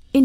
verscheen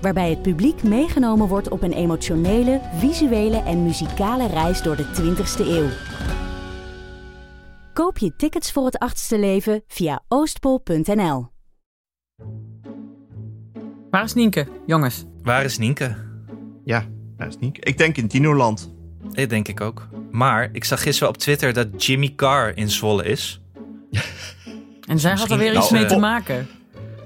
Waarbij het publiek meegenomen wordt op een emotionele, visuele en muzikale reis door de 20ste eeuw. Koop je tickets voor het achtste leven via oostpol.nl. Waar is Nienke, jongens? Waar is Nienke? Ja, dat is niet. Ik denk in Tinoland. Dit denk ik ook. Maar ik zag gisteren op Twitter dat Jimmy Carr in Zwolle is. En zij had er Misschien- weer iets nou, mee eh, te maken.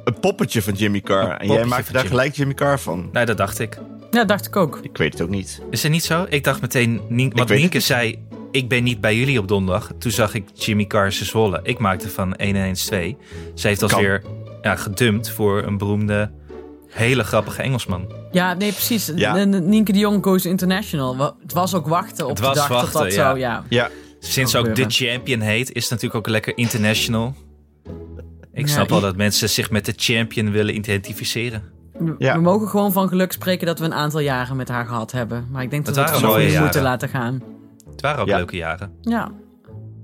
Een poppetje van Jimmy Carr. en jij poppetje maakt van daar Jimmy. gelijk Jimmy Carr van. Nee, Nou, dat dacht ik. Ja, dacht ik ook. Ik weet het ook niet. Is het niet zo? Ik dacht meteen, Nien- want weet Nienke het zei, ik ben niet bij jullie op donderdag. Toen zag ik Jimmy Carr zijn Zwolle. Ik maakte van 1 en 1 is 2. Ze heeft Kan. alweer ja, gedumpt voor een beroemde, hele grappige Engelsman. Ja, nee, precies. Ja. N- Nienke de Jong goes international. Wa- Het was ook wachten op Het de was dag dat wachten, dat ja. zo... Ja. Ja, Sinds Kan ook de gebeuren. champion heet, is het natuurlijk ook lekker international. Ik Ja, snap wel i- dat mensen zich met de champion willen identificeren. We- Ja. We mogen gewoon van geluk spreken dat we een aantal jaren met haar gehad hebben. Maar ik denk dat Het we het waren gewoon mooie niet moeten jaren. laten gaan. Het waren ook Ja. leuke jaren. Ja.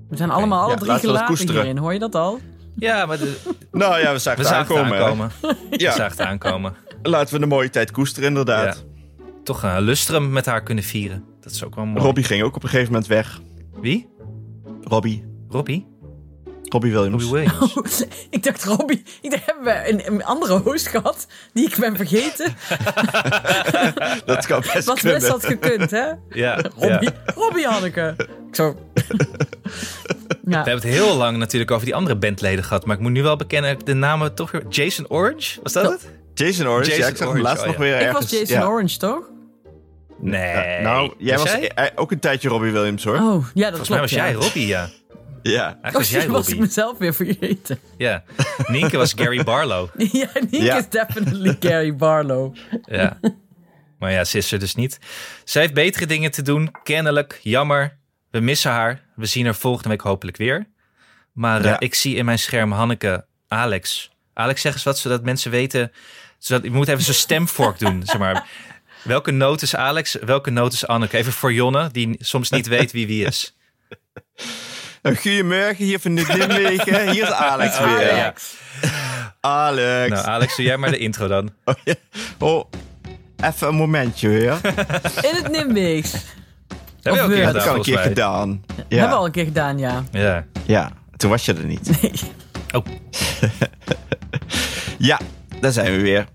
We zijn allemaal alle Ja, drie laten we dat gelaten koesteren. hierin, hoor je dat al? Ja, maar de- nou ja, we zagen we het zagen het aankomen. hè. aankomen. We Ja, zagen het aankomen. laten we een mooie tijd koesteren inderdaad. Toch een lustrum met haar kunnen vieren. Dat is ook wel mooi. Robbie ging ook op een gegeven moment weg. Wie? Robbie. Robbie? Robbie Williams. Robbie Williams. ik dacht, Robbie, ik dacht, hebben we een, een andere host gehad die ik ben vergeten? Dat kan best Wat kunnen. best had gekund, hè? Ja, ja. Robbie, Robbie Hanneke. Ik zo... ja. We hebben het heel lang natuurlijk over die andere bandleden gehad. Maar ik moet nu wel bekennen, dat ik de namen toch weer... Jason Orange? Was dat Ja. het? Jason Orange. Jason ja, ik zag hem Orange, laatst oh nog ja. weer Ik ergens. was Jason ja. Orange, toch? Nee. Nou, jij was jij? eh, ook een tijdje Robbie Williams hoor. Oh, ja, dat Volgens mij klopt. was ja. jij Robbie, ja. Ja. Eigenlijk Oh, was jij shit, was ik Robbie. mezelf weer vergeten. Ja. Nienke was Gary Barlow. ja, Nick Ja. is definitely Gary Oh, Barlow. Ja. Maar ja, ze is er dus niet. Zij heeft betere dingen te doen, kennelijk. Jammer. We missen haar. We zien haar volgende week hopelijk weer. Maar eh, Ja. ik zie in mijn scherm Hanneke, Alex. Alex, zeg eens wat, zodat mensen weten... Zodat, je moet even zo'n stemvork doen, zeg maar. Welke noot is Alex, welke noot is Anneke? Even voor Jonne, die soms niet weet wie wie is. Een Goedemorgen hier van de Limwegen. Hier is Alex weer. Alex. Alex. Ah, Nou, Alex, doe jij maar de intro dan. Oh, even een momentje weer. In het Nimbigs. Dat heb je ook Ja, een keer gedaan, Ja, dat kan een volgens keer mij. gedaan. Hebben we Ja. al een keer gedaan, ja. Ja. ja, toen was je er niet. Oh, Ja, daar zijn we weer.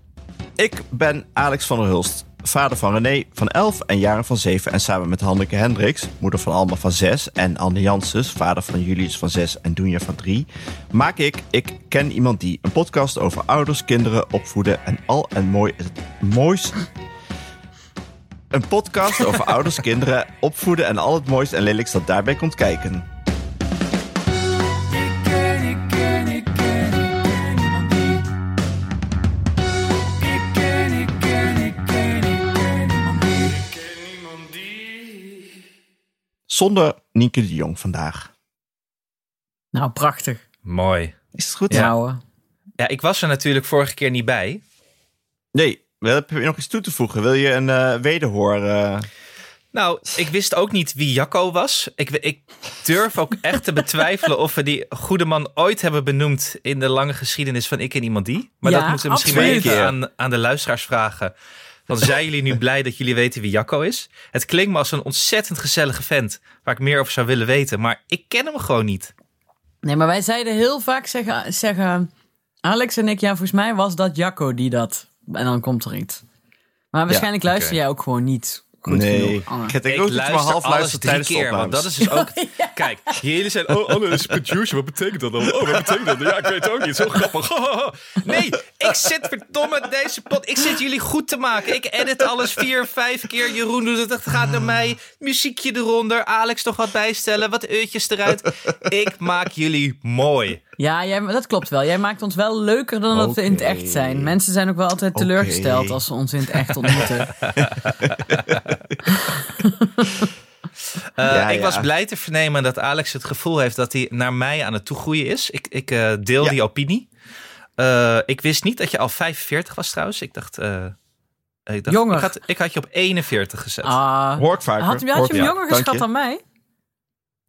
Ik ben Alex van der Hulst, vader van René van 11 en Jaren van 7. En samen met Hanneke Hendricks, moeder van Alma van 6. En Anne Janssens, vader van Julius van 6 en Doenja van 3. Maak ik Ik Ken Iemand Die. Een podcast over ouders, kinderen, opvoeden en al en mooi is het moois. Een podcast over ouders, kinderen, opvoeden en al het moois en lelijks dat daarbij komt kijken. Zonder Nienke de Jong vandaag. Nou, prachtig. mooi. Is het goed? Ja, hoor. Ja, ik was er natuurlijk vorige keer niet bij. Nee, we hebben nog iets toe te voegen. Wil je een eh, wederhoor? eh? Nou, ik wist ook niet wie Jacco was. Ik, ik durf ook echt te betwijfelen of we die goede man ooit hebben benoemd in de lange geschiedenis van Ik en Iemand Die. Maar Ja, dat moeten we misschien maar absoluut. even aan, aan de luisteraars vragen. Dan zijn jullie nu blij dat jullie weten wie Jacco is. Het klinkt me als een ontzettend gezellige vent waar ik meer over zou willen weten. Maar ik ken hem gewoon niet. Nee, maar wij zeiden heel vaak zeggen, zeggen Alex en ik, ja, volgens mij was dat Jacco die dat. En dan komt er iets. Maar waarschijnlijk oké. luister jij ook gewoon niet goed nee, genoeg. Anne. ik denk ook dat je maar half luistert drie tijdens de keer, want opnames. dat is dus ook... Kijk, jullie zijn... Oh, Anne is producer, wat betekent dat dan? Oh, wat betekent dat? Ja, ik weet het ook niet, zo grappig. Nee, ik zit verdomme deze pot... Ik zit jullie goed te maken. Ik edit alles vier, vijf keer. Jeroen doet het, het gaat naar mij. Muziekje eronder, Alex nog wat bijstellen, wat eurtjes eruit. Ik maak jullie mooi. Ja, jij, dat klopt wel. Jij maakt ons wel leuker dan dat we in het Oké. echt zijn. Mensen zijn ook wel altijd teleurgesteld als ze ons in het echt ontmoeten. Eh, Ja, ik ja. was blij te vernemen dat Alex het gevoel heeft dat hij naar mij aan het toegroeien is. Ik, ik eh, deel Ja. die opinie. Eh, ik wist niet dat je al 45 was trouwens. Ik dacht, eh, ik, dacht Jonger. Ik, had, ik had je op 41 gezet. Ah. Hoor ik vaker. had, had je hoor ik hem vaker. jonger Dank geschat je. dan mij?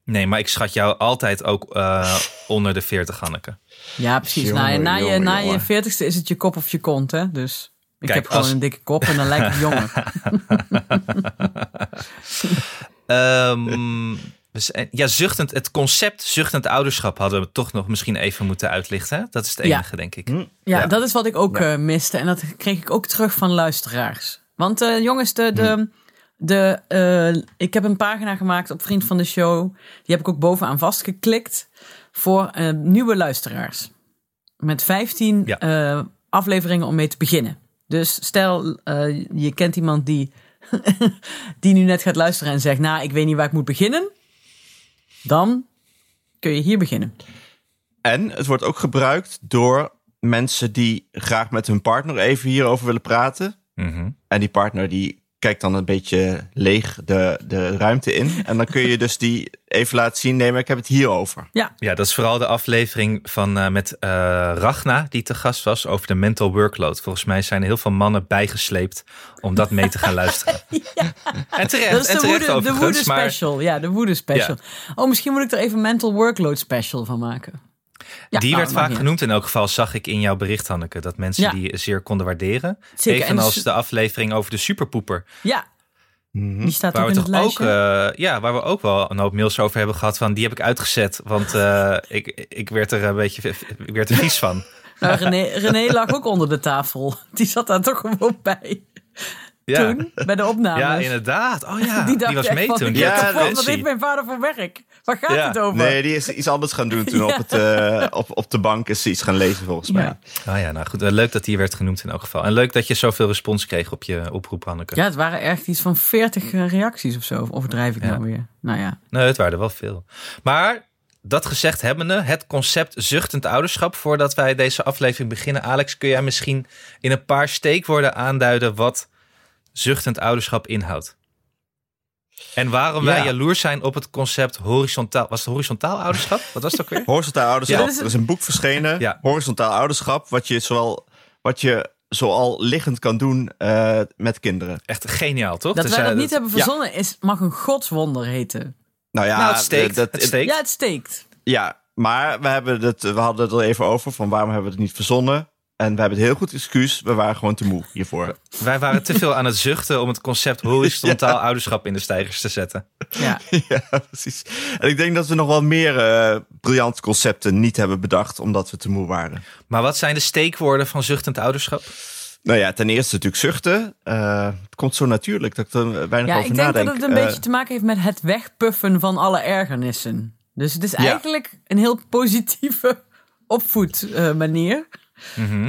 Nee, maar ik schat jou altijd ook eh, onder de 40, Hanneke. Ja, precies. Na, je- Jongen, na, je, jongen, na je jongen. veertigste is het je kop of je kont, hè? Dus ik Kijk, heb gewoon als- een dikke kop en dan lijkt het jonger. Ehm, we zijn- ja, zuchtend, het concept zuchtend ouderschap hadden we toch nog misschien even moeten uitlichten. hè? Dat is het Ja. enige, denk Hm. ik. Ja, Ja. dat is wat ik ook Ja. eh, miste. En dat kreeg ik ook terug van luisteraars. Want eh, jongens, de, Hmm. de, de, eh, ik heb een pagina gemaakt op Vriend van de Show. Die heb ik ook bovenaan vastgeklikt voor eh, nieuwe luisteraars. Met 15 Ja. eh, afleveringen om mee te beginnen. Dus stel, eh, je kent iemand die, die nu net gaat luisteren en zegt... nou, ik weet niet waar ik moet beginnen. Dan kun je hier beginnen. En het wordt ook gebruikt door mensen die graag met hun partner even hierover willen praten. Mhm. En die partner die kijkt dan een beetje leeg de, de ruimte in. En dan kun je dus die even laten zien. Nee, maar ik heb het hierover. Ja, Ja, dat is vooral de aflevering van, eh, met eh, Ragna, die te gast was, over de mental workload. Volgens mij zijn heel veel mannen bijgesleept om dat mee te gaan luisteren. En terecht, Dat is en de terecht woede, de overigens. woede maar special. Ja, de woede special. Oh, misschien moet ik er even mental workload special van maken. Ja, die nou, werd dat maakt vaak niet genoemd. In elk geval zag ik in jouw bericht, Hanneke, dat mensen Ja. die zeer konden waarderen. Zeker, en dus- Evenals su- de aflevering over de superpoeper. uit. Ja, die staat Waar ook we in het Mhm. toch ook, lijstje. eh, ja, waar we ook wel een hoop mails over hebben gehad. Van die heb ik uitgezet, want eh, ik, ik werd er een beetje ik werd er vies van. Nou, René, René lag ook onder de tafel. Die zat daar toch gewoon bij. Ja. Toen, bij de opnames. Ja, inderdaad. Oh ja, die, Die, dacht was echt mee van, toen. ik Die heb had Ja, kapot, dementie. wat heeft mijn vader voor werk? Waar gaat Ja. het over? Nee, die is iets anders gaan doen toen op, het, eh, op, op de bank is ze iets gaan lezen volgens mij. ja. Ah ja, nou goed. Eh, Leuk dat die werd genoemd in elk geval. En leuk dat je zoveel respons kreeg op je oproep, Hanneke. ja, het waren echt iets van 40 reacties of zo. Of overdrijf ik nou weer? Nou ja. Nee, het waren er wel veel. Maar dat gezegd hebbende, het concept zuchtend ouderschap. Voordat wij deze aflevering beginnen, Alex, kun jij misschien in een paar steekwoorden aanduiden wat zuchtend ouderschap inhoudt? En waarom wij Ja. jaloers zijn op het concept horizontaal. Was het horizontaal ouderschap? Wat was het ook weer? Horizontaal ouderschap. Ja, dat is- Er is een boek verschenen. Ja. Horizontaal ouderschap. Wat je, zowel, wat je zoal liggend kan doen eh, met kinderen. Echt geniaal, toch? Dat Dus, wij eh, dat niet hebben ja. verzonnen is, mag een godswonder heten. Nou ja, Nou, het steekt. eh, dat- het steekt. Ja, het steekt. Ja, maar we, hebben het, we hadden het al even over van waarom hebben we het niet verzonnen. En we hebben het heel goed excuus. We waren gewoon te moe hiervoor. Wij waren te veel aan het zuchten om het concept horizontaal ouderschap in de stijgers te zetten. Ja. ja, precies. En ik denk dat we nog wel meer eh, briljante concepten niet hebben bedacht omdat we te moe waren. Maar wat zijn de steekwoorden van zuchtend ouderschap? Nou ja, ten eerste natuurlijk zuchten. Eh, het komt zo natuurlijk dat ik er weinig Ja, over ik denk nadenk. dat het een Eh, beetje te maken heeft met het wegpuffen van alle ergernissen. Dus het is eigenlijk een heel positieve opvoedmanier. manier.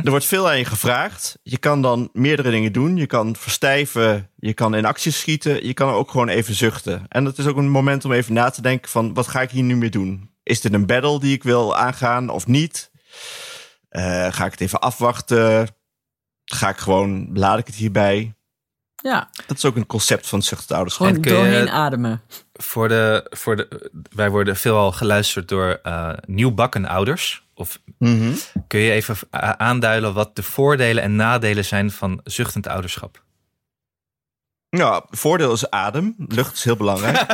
Er wordt veel aan je gevraagd. Je kan dan meerdere dingen doen. Je kan verstijven, je kan in actie schieten, je kan ook gewoon even zuchten. En dat is ook een moment om even na te denken van wat ga ik hier nu mee doen? Is dit een battle die ik wil aangaan of niet? Eh, ga ik het even afwachten? Ga ik gewoon, laat ik het hierbij? ja, Dat is ook een concept van zuchtend ouderschap. gewoon En kun je- doorheen ademen. Voor de, voor de, wij worden veelal geluisterd door eh, nieuwbakken ouders. Of Mhm. kun je even a- aanduiden wat de voordelen en nadelen zijn van zuchtend ouderschap? Ja, voordeel is adem. Lucht is heel belangrijk.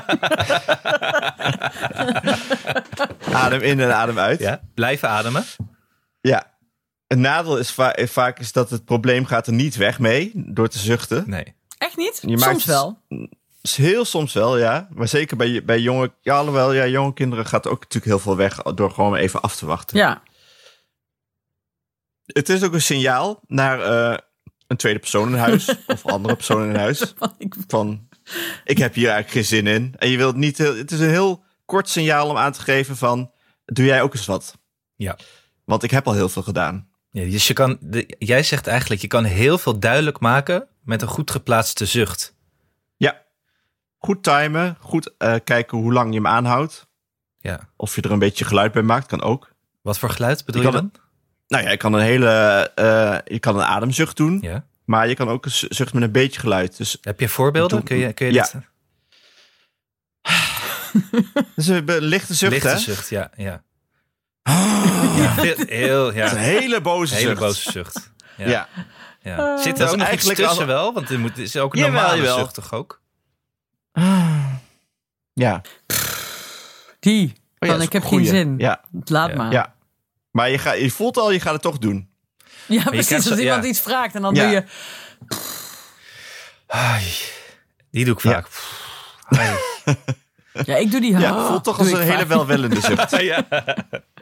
adem in en adem uit. Ja? Blijven ademen. Ja. Een nadeel is va- eh, vaak is dat het probleem gaat er niet weg mee door te zuchten. Nee. Echt niet? Je maakt Soms het- wel. Is Heel soms wel, ja. Maar zeker bij, bij jonge, ja, alhoewel, ja, jonge kinderen gaat ook natuurlijk heel veel weg door gewoon even af te wachten. Ja. Het is ook een signaal naar eh, een tweede persoon in huis of andere persoon in huis Want ik- van ik heb hier eigenlijk geen zin in. En je wilt niet, heel- het is een heel kort signaal om aan te geven van doe jij ook eens wat. Ja. Want ik heb al heel veel gedaan. Ja, dus je kan, de- jij zegt eigenlijk, je kan heel veel duidelijk maken met een goed geplaatste zucht. Ja. Goed timen, goed eh, kijken hoe lang je hem aanhoudt. Ja. Of je er een beetje geluid bij maakt, kan ook. Wat voor geluid bedoel Je je, kan dan? Nou ja, je kan een hele. eh, je kan een ademzucht doen. Ja. Maar je kan ook een z- zucht met een beetje geluid. Dus Heb je voorbeelden? Doe- Kun je, kun je Ja. dit... dat is een be- dus lichte zucht, Lichte hè? zucht, ja. ja. Ah. ja heel, heel, ja. Dat is Een hele boze hele zucht. boze zucht. Ja. Ja. Ah. Ja. Zit er Dat ook nog is iets eigenlijk tussen al- wel? Want er moet, is ook een Jawel, normale jawel. zucht toch ook? Ja. Die. Oh ja, Van, dat is ik heb een goeie. geen zin. Ah. Ja, Laat Ja. maar. Ja, ja. Maar je, ga, je voelt al, je gaat het toch doen. precies. krijgt als zo- iemand ja. iets vraagt en dan Ja. doe je... Ai, Die doe ik Ja. vaak. Ai. Ja, ik doe die... Ja, het voelt toch Oh, doe als een ik hele vaak. welwillende zucht. ja.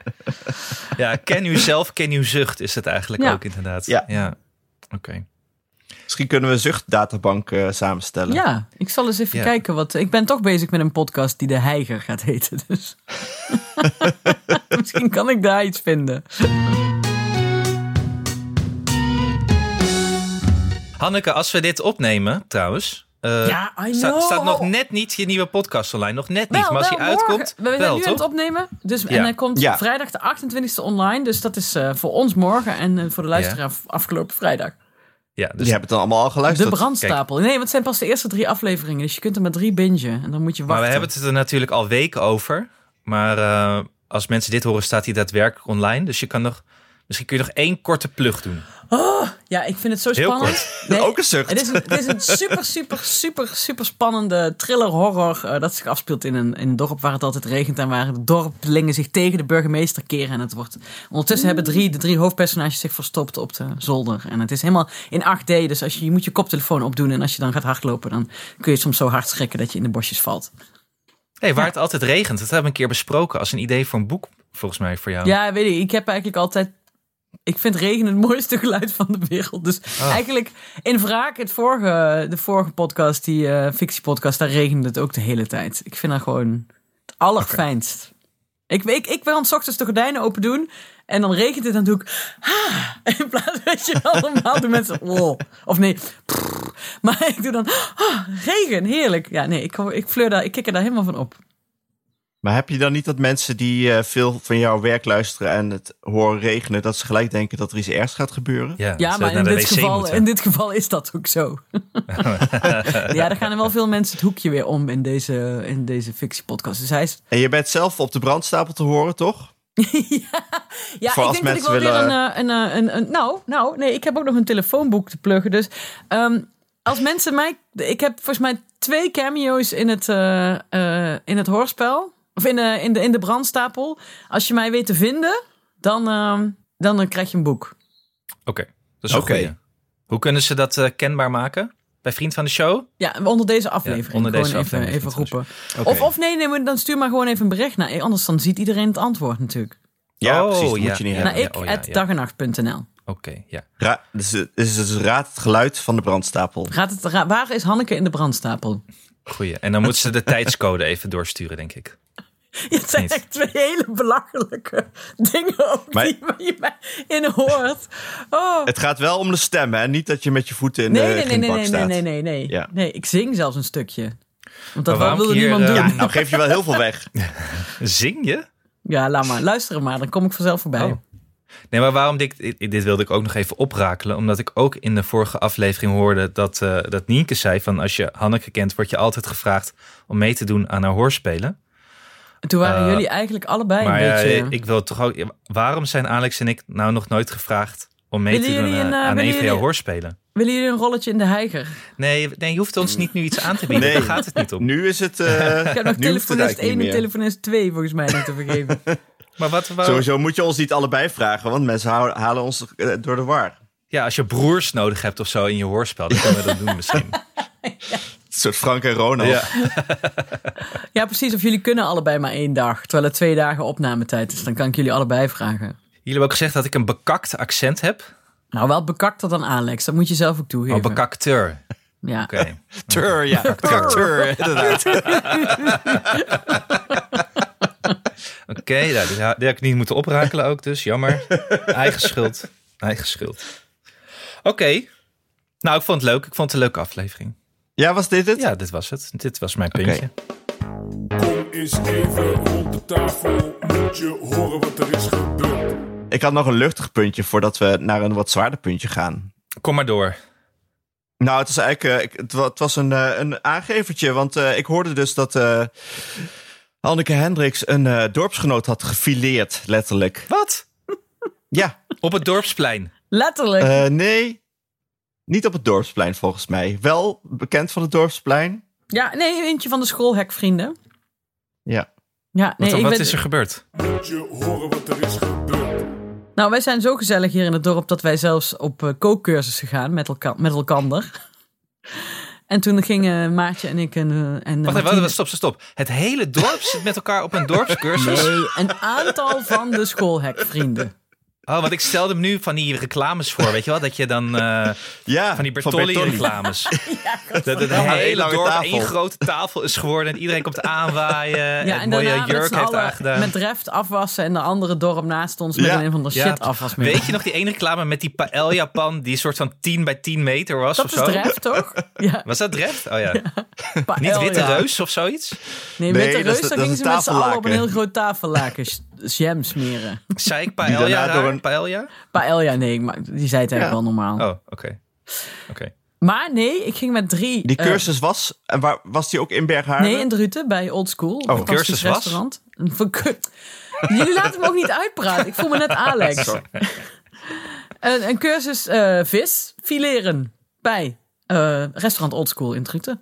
ja, ken uw zelf, ken uw zucht is het eigenlijk Ja. ook inderdaad. Ja. Oké. Misschien kunnen we een zuchtdatabank eh, samenstellen. Ja, ik zal eens even Ja. kijken wat... Ik ben toch bezig met een podcast die De Heiger gaat heten, dus... Misschien kan ik daar iets vinden. Hanneke, als we dit opnemen trouwens... eh, Ja, I sta- know. staat nog net niet je nieuwe podcast online. Nog net niet. maar als die wel, morgen. uitkomt, We zijn wel nu toch? aan het opnemen. Dus, En Ja. hij komt Ja. vrijdag de 28e online. Dus dat is eh, voor ons morgen en eh, voor de luisteraar afgelopen vrijdag. Ja, dus Die hebben het dan allemaal al De geluisterd. brandstapel. Nee, want het zijn pas de eerste drie afleveringen. Dus je kunt er maar drie bingen. En dan moet je Maar wachten. we hebben het er natuurlijk al weken over. Maar eh, als mensen dit horen, staat hij daadwerkelijk online. Dus je kan nog, misschien kun je nog één korte plug doen. Ja, ik vind het zo Heel spannend. Nee, Ook een zucht. Het is een, het is een super, super, super, super spannende thriller-horror eh, dat zich afspeelt in een, in een dorp waar het altijd regent en waar de dorpelingen zich tegen de burgemeester keren. En het wordt, ondertussen hebben drie, de drie hoofdpersonages zich verstopt op de zolder. En het is helemaal in 8D, dus als je, je moet je koptelefoon opdoen en als je dan gaat hardlopen, dan kun je soms zo hard schrikken dat je in de bosjes valt. Hey, waar het altijd regent. Dat hebben we een keer besproken als een idee voor een boek, volgens mij, voor jou. Ja, weet je, ik heb eigenlijk altijd. Ik vind regen het mooiste geluid van de wereld. Dus eigenlijk in wraak, het vorige, de vorige podcast, die eh, fictiepodcast, daar regende het ook de hele tijd. Ik vind dat gewoon het allerfijnst. Ik, ik, ik wil dan 's ochtends de gordijnen open doen en dan regent het en dan doe ik... "Ah." in plaats van dat je allemaal de mensen... "Wow." Of nee, "Prrr." maar ik doe dan... "Ah, regen, heerlijk. Ja, nee, ik, ik, fleur daar, ik kik er daar helemaal van op. Maar heb je dan niet dat mensen die eh, veel van jouw werk luisteren en het horen regenen, dat ze gelijk denken dat er iets ergs gaat gebeuren? Ja, Ja, ze maar in naar de dit, wc geval, moeten. in dit geval is dat ook zo. ja, daar gaan er wel veel mensen het hoekje weer om in deze, in deze fictiepodcast. Dus hij is... En je bent zelf op de brandstapel te horen, toch? Ja, Voor ik denk als dat ik wel mensen weer willen- een, eh, een, eh, een, een- Nou, nou, nee, ik heb ook nog een telefoonboek te pluggen. Dus ehm, als mensen mij... Ik heb volgens mij twee cameo's in het, eh, eh, in het hoorspel. Of in de, in, de, in de brandstapel. Als je mij weet te vinden, dan, ehm, dan eh, krijg je een boek. Oké, dat is een Oké. goeie. Hoe kunnen ze dat eh, kenbaar maken? Bij Vriend van de Show? Ja, onder deze aflevering. onder deze gewoon aflevering even, even vind ik roepen. Oké. Of, of nee, nee, maar dan stuur maar gewoon even een bericht naar. Anders dan ziet iedereen het antwoord natuurlijk. Ja, Oh, precies. Dat ja. moet je niet Ja. hebben. naar ik, oh ja, at ja. dag en nacht.nl. Oké, ja. Ra- dus, eh, dus, dus raad het geluid van de brandstapel. Gaat het, ra- waar is Hanneke in de brandstapel? Goeie. En dan moeten ze de tijdscode even doorsturen, denk ik. Ja, het zijn Niet. echt twee hele belachelijke dingen ook Maar- die waar je mij in hoort. Oh. Het gaat wel om de stem, hè? Niet dat je met je voeten in Nee, de nee, nee, nee, grindbak nee, nee, staat. nee, nee, nee. Ja. Nee, ik zing zelfs een stukje. Want dat waarom wilde hier, niemand eh, doen. Ja, nou geef je wel heel veel weg. Zing je? Ja, laat maar. Luister maar, dan kom ik vanzelf voorbij. Oh. Nee, maar waarom dit, dit wilde ik ook nog even oprakelen. Omdat ik ook in de vorige aflevering hoorde dat, eh, dat Nienke zei van als je Hanneke kent, word je altijd gevraagd om mee te doen aan haar hoorspelen. En toen waren Eh, jullie eigenlijk allebei maar een eh, beetje... ik wil toch ook. Waarom zijn Alex en ik nou nog nooit gevraagd om mee Willen te doen jullie eh, een, eh, aan willen een van jouw jullie- hoorspelen? Willen jullie een rolletje in de heiger? Nee, nee, je hoeft ons niet nu iets aan te bieden. Nee. Daar gaat het niet om. Nu is het... eh, Ik heb nog nu hoeft het telefonist 1 eigenlijk niet en meer. telefonist 2 volgens mij niet te vergeven. Maar wat, Oh. waarom- Sowieso moet je ons niet allebei vragen, want mensen hou- halen ons eh, door de war. Ja, als je broers nodig hebt of zo in je hoorspel, dan kunnen we dat doen misschien. Een soort Frank en Ronald. Ja. ja, precies. Of jullie kunnen allebei maar één dag. Terwijl het twee dagen opnametijd is. Dan kan ik jullie allebei vragen. Jullie hebben ook gezegd dat ik een bekakt accent heb. Nou, wel bekakter dan Alex. Dat moet je zelf ook toegeven. Oh, bekakteur. Ja. Oké. Tur, ja. Tur, inderdaad. Oké, nou, die, ha- die had ik niet moeten oprakelen ook, dus jammer. Eigen schuld. Eigen schuld. Oké. Nou, ik vond het leuk. Ik vond het een leuke aflevering. Ja, was dit het? Ja, dit was het. Dit was mijn puntje. Kom eens even rond de tafel, moet je horen wat er is gebeurd. Ik had nog een luchtig puntje voordat we naar een wat zwaarder puntje gaan. Kom maar door. Nou, het is eigenlijk. eh, ik- het, wa- het was een, eh, een aangevertje. Want eh, ik hoorde dus dat. eh Anneke Hendricks een eh, dorpsgenoot had gefileerd, letterlijk. Wat? Ja, Op het dorpsplein. Letterlijk. eh, nee. Niet op het dorpsplein, volgens mij. Wel bekend van het dorpsplein. ja, nee, eentje van de schoolhekvrienden. Ja. Ja, nee, Wat, ik wat ben- is er gebeurd? Moet je horen wat er is gebeurd. Nou, wij zijn zo gezellig hier in het dorp dat wij zelfs op eh, kookcursussen gaan met, elka met elkander. en toen gingen Maartje en ik en, eh, en Wacht even, Martine- wacht, stop, stop, stop. Het hele dorp zit met elkaar op een dorpscursus. Nee, een aantal van de schoolhekvrienden. Oh, want ik stelde hem nu van die reclames voor, weet je wel? Dat je dan eh, ja van die van Bertolli. Bertolli-reclames. dat het Ja, één hele lange dorp tafel. één grote tafel is geworden en iedereen komt aanwaaien. en, een Eh, mooie daarna met jurk z'n heeft allen aangedaan. met reft afwassen en de andere dorp naast ons met Ja. een van de Ja, shit afwasmiddel. Weet je nog die ene reclame met die paella-pan die soort van 10 bij 10 meter was dat of is zo? dreft, toch? Ja, Was dat Dreft? Oh ja. Niet paella. Witte Reus of zoiets? Nee, Nee, Witte dat is Reus, de- daar dat gingen is ze een met z'n allen op een tafellaken. heel groot tafellaken s- jam smeren. Zei ik Die paella daarna raar? door een- Paella? Paella, nee, maar die zei het eigenlijk Ja. wel normaal. Oh, oké. Oké. Maar nee, ik ging met drie... Die eh, cursus was. En waar was die ook in Berghagen? nee, in Druten, bij Old School. een fantastisch Oh, cursus was? restaurant. Een verk- Jullie laten me ook niet uitpraten. Ik voel me net Alex. een, een cursus eh, vis fileren bij eh, restaurant Old School in Druten.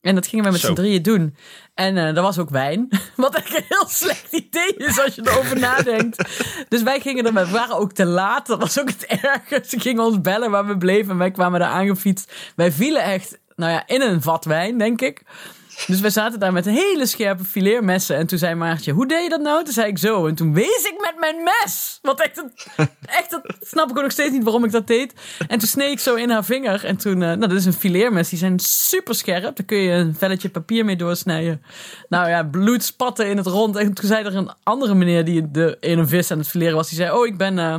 En dat gingen we met Zo. z'n drieën doen. En eh er was ook wijn. Wat eigenlijk een heel slecht idee is als je erover nadenkt. Dus wij gingen er, met- we waren ook te laat. Dat was ook het ergste. Ze gingen ons bellen waar we bleven. En wij kwamen daar aangefietst. Wij vielen echt, nou ja, in een vat wijn, denk ik. Dus wij zaten daar met hele scherpe fileermessen. En toen zei Maartje, hoe deed je dat nou? Toen zei ik zo. En toen wees ik met mijn mes. Want echt, dat- echt dat snap ik ook nog steeds niet waarom ik dat deed. En toen snee ik zo in haar vinger. En toen, eh, nou dat is een fileermes. Die zijn super scherp. Daar kun je een velletje papier mee doorsnijden. Nou ja, bloed spatte in het rond. En toen zei er een andere meneer die de, in een vis aan het fileren was. Die zei, oh ik ben eh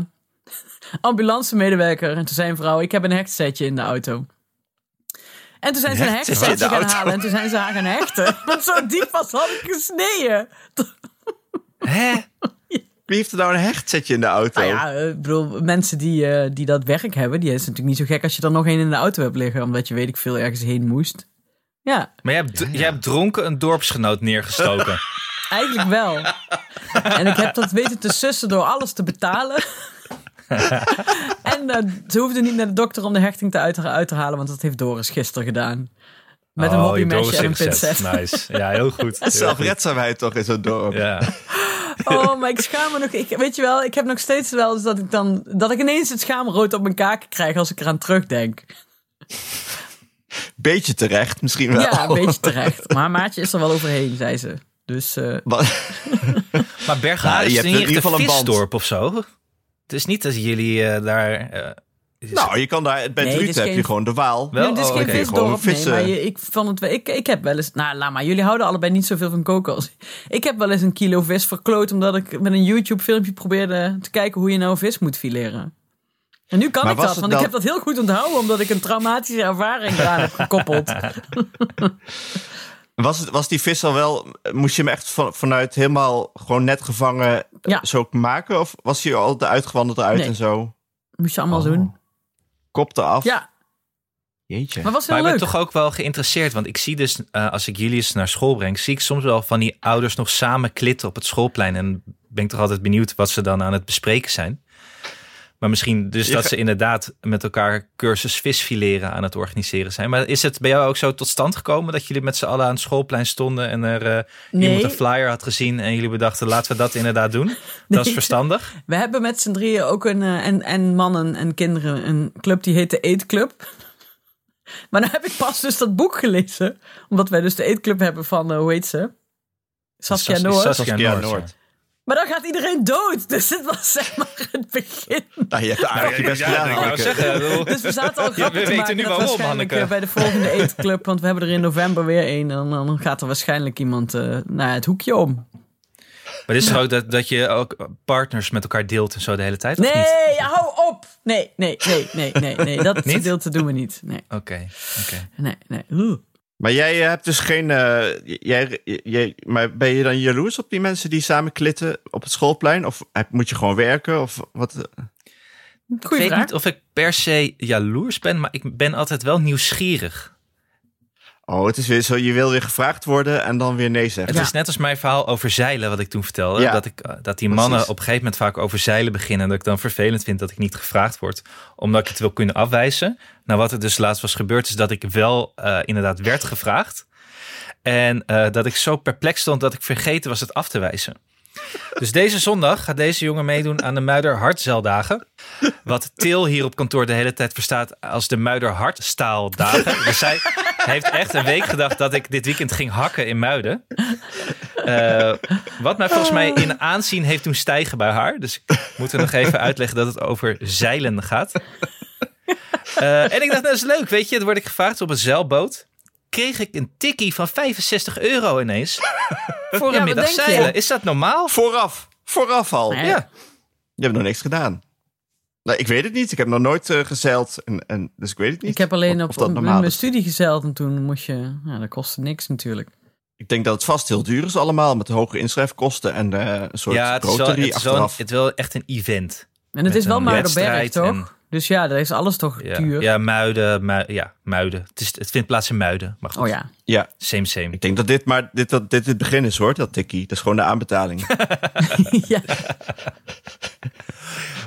ambulance medewerker. En toen zei een vrouw, ik heb een hechtsetje in de auto. En toen zijn ze een Hechtsetje hechtsetje in de gaan auto. halen. En toen zijn ze haar gaan hechten. Want zo diep was had ik gesneden. Hè? Wie heeft er nou een hechtzetje in de auto? Nou ja, eh, ik bedoel, mensen die, eh, die dat werk hebben, die is natuurlijk niet zo gek als je er nog één in de auto hebt liggen, omdat je weet ik veel ergens heen moest. Ja, Maar jij hebt, jij hebt dronken een dorpsgenoot neergestoken. eigenlijk wel. en ik heb dat weten te sussen door alles te betalen. en eh, ze hoefden niet naar de dokter om de hechting te uit, uit te halen, want dat heeft Doris gisteren gedaan. Met een Oh, je hobbymesje Doris en een ingezet. pincet. Nice. Ja, heel goed. Heel Zelfredzaamheid toch in zo'n dorp. goed. Ja. Oh, maar ik schaam me nog. Ik, weet je wel, ik heb nog steeds wel eens dat ik dan. dat ik ineens het schaamrood op mijn kaken krijg als ik eraan terugdenk. Beetje terecht, misschien wel. Ja, een beetje terecht. Maar Maatje is er wel overheen, zei ze. Dus eh, Wat- Maar Bergharen Nou, je is hebt niet in echt ieder geval een een band. visdorp of zo. Het is niet dat jullie eh, daar... eh, is- Nou, je kan daar, bij Nee, dit Druten is heb geen- je gewoon de Waal. Wel? nee, dit is Oh, geen oké. Gewoon visdorp. Nee, vissen. maar je- ik, vond het, wel- ik, ik heb wel eens... Nou, laat maar. Jullie houden allebei niet zoveel van koken als... Ik heb wel eens een kilo vis verkloot... omdat ik met een YouTube-filmpje probeerde te kijken... hoe je nou vis moet fileren. En nu kan Maar ik was dat, het want ik nou- dan- heb dat heel goed onthouden... omdat ik een traumatische ervaring eraan heb gekoppeld. Was, het, was die vis al wel, moest je hem echt van, vanuit helemaal gewoon net gevangen eh, Ja. zo maken? Of was hij al de uitgewandeld eruit Nee. en zo? Moest je allemaal Oh. doen. Kopte af? Ja, Jeetje. maar was heel Maar ik ben leuk. toch ook wel geïnteresseerd. Want ik zie dus, eh, als ik Julius naar school breng... zie ik soms wel van die ouders nog samen klitten op het schoolplein. En ben ik toch altijd benieuwd wat ze dan aan het bespreken zijn. Maar misschien dus Je dat ga- ze inderdaad met elkaar cursus visfileren aan het organiseren zijn. Maar is het bij jou ook zo tot stand gekomen dat jullie met z'n allen aan het schoolplein stonden en er eh, Nee. iemand een flyer had gezien en jullie bedachten laten we dat inderdaad doen? Dat is Nee. verstandig. We hebben met z'n drieën ook een, eh, en, en mannen en kinderen, een club die heet de Eetclub. Maar nou heb ik pas dus dat boek gelezen. Omdat wij dus de Eetclub hebben van, eh, hoe heet ze? Saskia Sas- Noor. Saskia Saskia Noor, Noord. Maar dan gaat iedereen dood. Dus dit was zeg maar het begin. Nou, je hebt aardig je best gedaan, Hanneke. Dus we zaten al Ja, grappen we te weten maken nu dat waarom, waarschijnlijk Hanneke. eh, bij de volgende Eetclub. Want we hebben er in november weer een. En dan, dan gaat er waarschijnlijk iemand eh, naar het hoekje om. Maar is het ook dat, dat je ook partners met elkaar deelt en zo de hele tijd? of niet? Nee, hou op! Nee, nee, nee, nee, nee. nee. Dat Niet? gedeelte doen we niet. Nee, Oké, oké. nee, nee. Oeh. Maar jij hebt dus geen. eh, jij, jij, maar ben je dan jaloers op die mensen die samen klitten op het schoolplein? Of heb- moet je gewoon werken? Of wat? eh? Ik Goeie weet vraag. niet of ik per se jaloers ben, maar ik ben altijd wel nieuwsgierig. Oh, het is weer zo, je wil weer gevraagd worden en dan weer nee zeggen. Het is net als mijn verhaal over zeilen, wat ik toen vertelde. Ja. Dat, ik, eh, dat die mannen Precies. op een gegeven moment vaak over zeilen beginnen. En dat ik dan vervelend vind dat ik niet gevraagd word. Omdat ik het wil kunnen afwijzen. Nou, wat er dus laatst was gebeurd, is dat ik wel eh, inderdaad werd gevraagd. En eh, dat ik zo perplex stond dat ik vergeten was het af te wijzen. Dus deze zondag gaat deze jongen meedoen aan de Muider Hartzeildagen. Wat Til hier op kantoor de hele tijd verstaat als de Muider Hartstaaldagen. Dus zij heeft echt een week gedacht dat ik dit weekend ging hakken in Muiden. Eh, wat mij volgens mij in aanzien heeft doen stijgen bij haar. Dus ik moet er nog even uitleggen dat het over zeilen gaat. Eh, en ik dacht, nou, dat is leuk, weet je. Dan word ik gevraagd op een zeilboot. Kreeg ik een tikkie van 65 euro ineens. Voor Ja, een wat middag denk je? zeilen. Is dat normaal? Vooraf. Vooraf al. Nee. Ja. Je hebt nog niks gedaan. Nou, ik weet het niet. Ik heb nog nooit eh, gezeild. En, en, dus ik weet het niet. Ik heb alleen of- op, of dat op normaal mijn is. studie gezeild en toen moest je... Ja, dat kostte niks natuurlijk. Ik denk dat het vast heel duur is allemaal. Met de hoge inschrijfkosten en eh, een soort Ja, het is, wel, het, is rotary wel, achteraf. het is wel echt een event. En het is wel een Muidenberg, wedstrijd toch? en- Dus ja, daar is alles toch Ja, duur. ja muiden. Mui- ja, muiden. Het, is, het vindt plaats in muiden. Maar goed, Oh ja. Ja, same, same. ik denk dat dit maar dit, dat, dit het begin is hoor, dat tikkie. Dat is gewoon de aanbetaling. ja.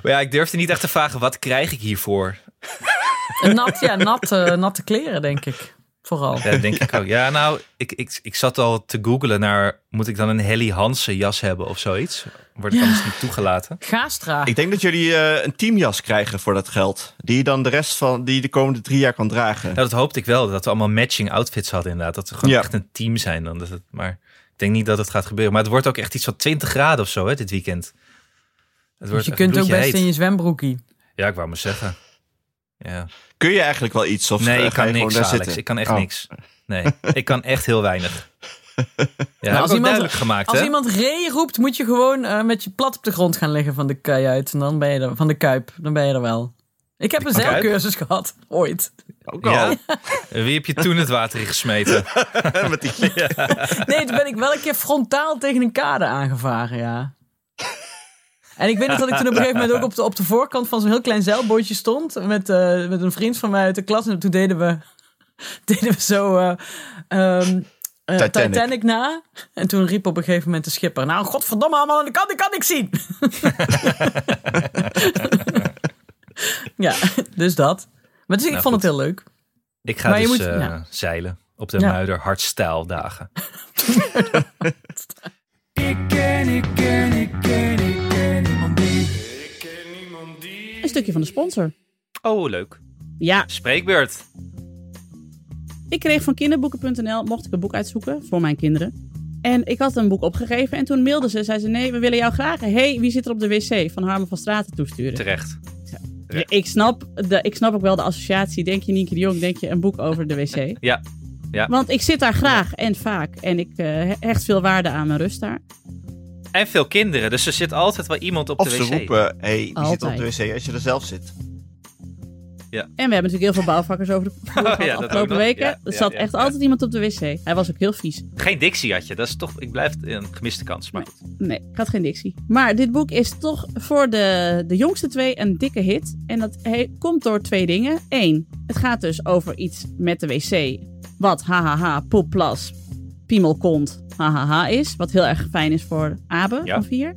Maar ja, ik durfde niet echt te vragen, wat krijg ik hiervoor? En Nat, ja, nat, eh, natte kleren, denk ik. Vooral. Ja, dat denk ik ook. Ja, nou, ik, ik, ik zat al te googlen naar... moet ik dan een Helly Hansen jas hebben of zoiets? Word ik anders niet toegelaten? Gaastra. ik denk dat jullie eh, een teamjas krijgen voor dat geld. Die je dan de rest van, die je de komende drie jaar kan dragen. Nou, dat hoopte ik wel. Dat we allemaal matching outfits hadden inderdaad. Dat we gewoon Ja. echt een team zijn dan. Dat het, maar ik denk niet dat het gaat gebeuren. Maar het wordt ook echt iets van 20 graden of zo hè, dit weekend. Het Dus wordt je echt kunt ook bloedje best heet. in je zwembroekie. Ja, ik wou maar zeggen. Ja. Kun je eigenlijk wel iets? Of eh, Nee, ga ik kan je gewoon niks, daar Alex. zitten? Ik kan echt Oh. niks. Nee, ik kan echt heel weinig. Ja, als als iemand- iemand, duidelijk gemaakt, Als hè? iemand ree roept, moet je gewoon eh, met je plat op de grond gaan liggen van de kei uit. En dan ben je er, van de kuip. Dan ben je er wel. Ik heb een Kuip? zeilcursus gehad, ooit. Ook al. Ja. Wie heb je toen het water in gesmeten? Met die- Nee, toen ben ik wel een keer frontaal tegen een kade aangevaren, ja. En ik weet nog dat ik toen op een gegeven moment ook op de, op de voorkant van zo'n heel klein zeilbootje stond. Met, eh, met een vriend van mij uit de klas. En toen deden we, deden we zo eh, ehm, eh, Titanic. Titanic. na. En toen riep op een gegeven moment de schipper. Nou, godverdomme allemaal aan de kant, ik kan niks zien. ja, dus dat. Maar dus, ik Nou, vond het goed. heel leuk. Ik ga Maar je dus moet- eh, ja. zeilen op de Ja. Muider Hardstijldagen. Een stukje van de sponsor. Oh, leuk. Ja, Spreekbeurt. ik kreeg van kinderboeken.nl, mocht ik een boek uitzoeken voor mijn kinderen. En ik had een boek opgegeven en toen mailde ze, zei ze, nee, we willen jou graag. hey, wie zit er op de wc? Van Harmen van Straten toesturen. Terecht. Ja, ik, snap de, ik snap ook wel de associatie, denk je Nienke de Jong, denk je een boek over de wc. Ja. Ja. Want ik zit daar graag en vaak en ik eh, hecht veel waarde aan mijn rust daar. En veel kinderen, dus er zit altijd wel iemand op Of de ze wc. roepen, hé, hey, die zit op Altijd. de wc als je er zelf zit. En we hebben natuurlijk heel veel bouwvakkers over de vloer ja, gehad de dat ook afgelopen nog. weken. Ja, er ja, zat ja, echt ja. altijd iemand op de wc. Hij was ook heel vies. Geen Dixie had je, dat is toch, ik blijf een gemiste kans. Maar goed. Nee, ik had geen dictie. Maar dit boek is toch voor de, de jongste twee een dikke hit. En dat he- komt door twee dingen. Eén, het gaat dus over iets met de wc. Wat hahaha, poepplas, piemelkont, hahaha is. Wat heel erg fijn is voor Abe Ja. van vier.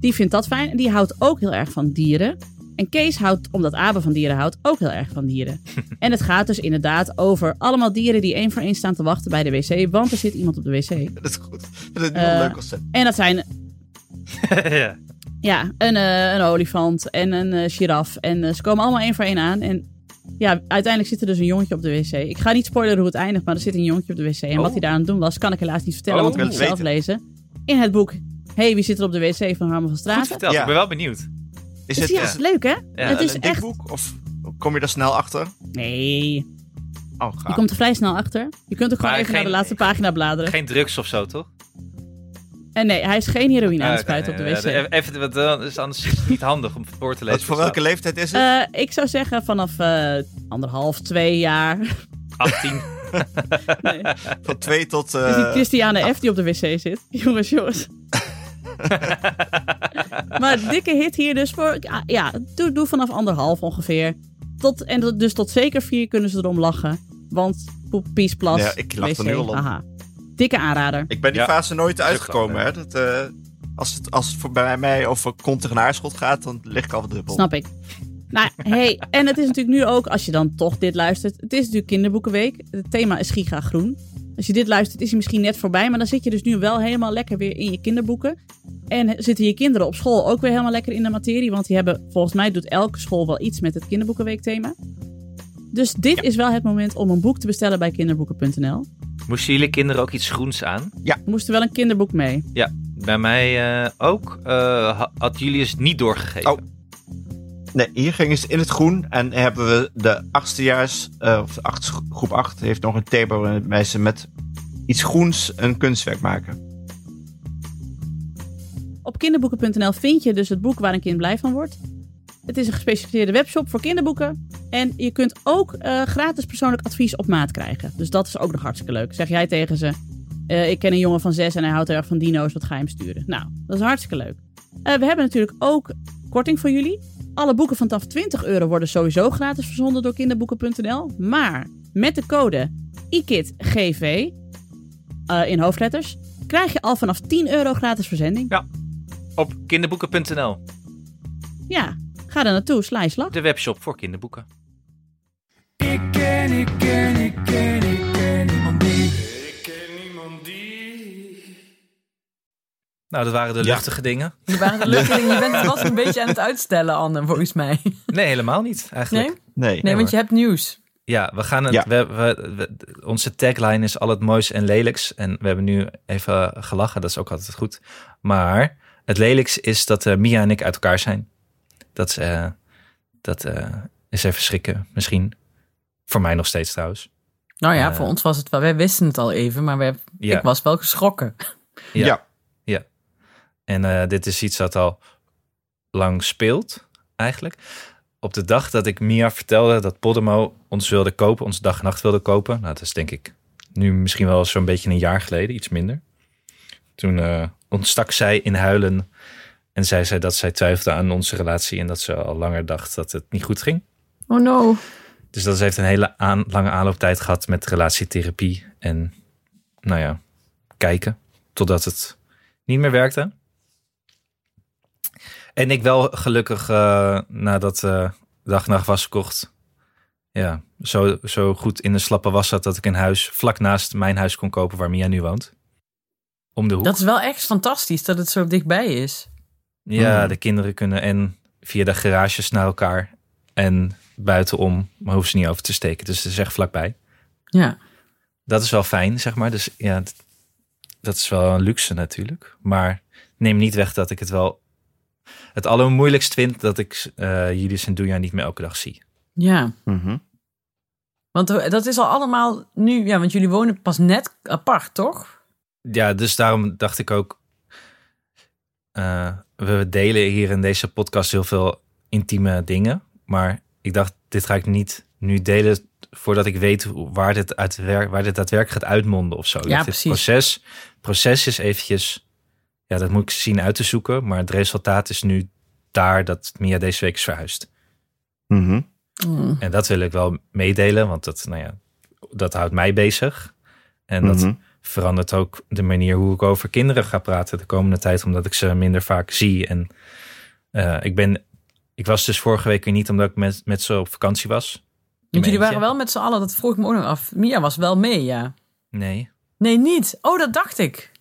Die vindt dat fijn en die houdt ook heel erg van dieren. En Kees houdt, omdat Abe van dieren houdt, ook heel erg van dieren. en het gaat dus inderdaad over allemaal dieren die één voor één staan te wachten bij de wc. Want er zit iemand op de wc. Dat is goed. Dat is een Eh, leuk concept. En dat zijn ja. Ja, een, eh, een olifant en een eh, giraf. En eh, ze komen allemaal één voor één aan. En ja, uiteindelijk zit er dus een jongetje op de wc. Ik ga niet spoileren hoe het eindigt, maar er zit een jongetje op de wc. En Oh. wat hij daar aan het doen was, kan ik helaas niet vertellen, Oh, want ik ik wil moet het zelf het lezen. In het boek, hey, wie zit er op de wc van Harmen van Goed Straten? verteld, Ja. ik ben wel benieuwd. Is Dus het, ja, is het leuk hè? Ja, het is een dik echt... boek of kom je daar snel achter? Nee, je Oh, gaaf. komt er vrij snel achter. Je kunt ook gewoon Ah. Maar even naar de geen- laatste pagina bladeren. Geen drugs of zo, toch? En nee, hij is geen heroïne aan Ah, het oké, spuiten op de nee, wc. nee, Even, want dan is anders is het niet handig om voor te Wat, lezen. Dus voor welke leeftijd is het? Eh, ik zou zeggen vanaf eh, anderhalf, twee jaar. 18. Nee. Van twee tot... eh, Het is die Christiane F. die op de wc zit. Jongens, jongens. Maar dikke hit hier dus voor. ja, Ja, doe, doe vanaf anderhalf ongeveer. Tot, en dat- dus tot zeker vier kunnen ze erom lachen. Want poep, pies, plas. Ja, ik lach er wc, nu al om. haha. Dikke aanrader. Ik ben die Ja. fase nooit ook uitgekomen. Hè? Dat, eh, als, het, als het voor bij mij over kont tegen haarschot gaat, dan lig ik al dubbel. Snap ik. Nou, hey, en het is natuurlijk nu ook, als je dan toch dit luistert. Het is natuurlijk kinderboekenweek. Het thema is giga groen. Als je dit luistert, is hij misschien net voorbij. Maar dan zit je dus nu wel helemaal lekker weer in je kinderboeken. En zitten je kinderen op school ook weer helemaal lekker in de materie. Want die hebben, volgens mij doet elke school wel iets met het kinderboekenweekthema. Dus dit is wel het moment om een boek te bestellen bij kinderboeken.nl. Moesten jullie kinderen ook iets groens aan? Er moest er wel een kinderboek mee. Bij mij eh, ook. eh, ha- had Julius niet doorgegeven. Oh. Nee, hier gingen ze in het groen. En hebben we de achtstejaars, eh, of de acht, groep 8, heeft nog een thema waarin mensen met iets groens een kunstwerk maken. Op kinderboeken.nl vind je dus het boek waar een kind blij van wordt. Het is een gespecialiseerde webshop voor kinderboeken. En je kunt ook eh, gratis persoonlijk advies op maat krijgen. Dus dat is ook nog hartstikke leuk. Zeg jij tegen ze: eh, Ik ken een jongen van zes en hij houdt erg van dino's, wat ga je hem sturen? Nou, dat is hartstikke leuk. Eh, we hebben natuurlijk ook korting voor jullie. Alle boeken vanaf 20 euro worden sowieso gratis verzonden door kinderboeken.nl. Maar met de code IKIDGV eh, in hoofdletters krijg je al vanaf 10 euro gratis verzending. Op kinderboeken.nl. Ja, ga daar naartoe, sla je slag. De webshop voor kinderboeken. Ik ken, ik ken, ik ken, ik ken niemand die. Nou, dat waren de luchtige dingen. Die waren de leuke dingen. Je bent het was een beetje aan het uitstellen, Anne, volgens mij. Nee, helemaal niet eigenlijk. Nee? Nee. Nee, want je hebt nieuws. Ja, we gaan het, Ja. We, we- we- onze tagline is al het moois en lelijks. En we hebben nu even gelachen, dat is ook altijd goed. Maar het lelijks is dat eh, Mia en ik uit elkaar zijn. Dat, is, eh, dat eh, is even schrikken, misschien. Voor mij nog steeds trouwens. Nou ja, Eh. voor ons was het wel. Wij wisten het al even, maar wij, Ja. ik was wel geschrokken. Ja. Ja. En eh, dit is iets dat al lang speelt, eigenlijk. Op de dag dat ik Mia vertelde dat Podemo ons wilde kopen, ons dag en nacht wilde kopen. Nou, dat is denk ik nu misschien wel zo'n beetje een jaar geleden, iets minder. Toen eh, ontstak zij in huilen en zei zij dat zij twijfelde aan onze relatie en dat ze al langer dacht dat het niet goed ging. Oh no. Dus dat heeft een hele aan, lange aanlooptijd gehad met relatietherapie en, nou ja, kijken totdat het niet meer werkte. En ik wel gelukkig eh, nadat eh dag en nacht was gekocht, ja, zo, zo goed in de slappe was zat dat ik een huis vlak naast mijn huis kon kopen waar Mia nu woont. Om de hoek. Dat is wel echt fantastisch dat het zo dichtbij is. Ja, Mm. de kinderen kunnen en via de garages naar elkaar en buitenom, maar hoeven ze niet over te steken. Dus het is echt vlakbij. Ja. dat is wel fijn, zeg maar. Dus ja, d- dat is wel een luxe natuurlijk. Maar neem niet weg dat ik het wel het allermoeilijkst vind dat ik eh Julius en Doenja niet meer elke dag zie. Ja. Mhm. Want dat is al allemaal nu, ja, want jullie wonen pas net apart, toch? Ja, dus daarom dacht ik ook. eh, we delen hier in deze podcast heel veel intieme dingen. Maar ik dacht, dit ga ik niet nu delen voordat ik weet hoe- waar dit, uitwer- waar dit daadwerkelijk gaat uitmonden of zo. Dat dit precies. Proces, proces is eventjes, ja, dat moet ik zien uit te zoeken. Maar het resultaat is nu daar dat Mia deze week is verhuisd. Mhm. Mm. En dat wil ik wel meedelen, want dat, nou ja, dat houdt mij bezig. En dat, Mhm. verandert ook de manier hoe ik over kinderen ga praten de komende tijd, omdat ik ze minder vaak zie. En eh, ik ben, ik was dus vorige week weer niet omdat ik met, met ze op vakantie was. Want jullie waren Eentje. wel met z'n allen, dat vroeg ik me ook nog af. Mia was wel mee, ja. Nee, Nee, niet. Oh, dat dacht ik.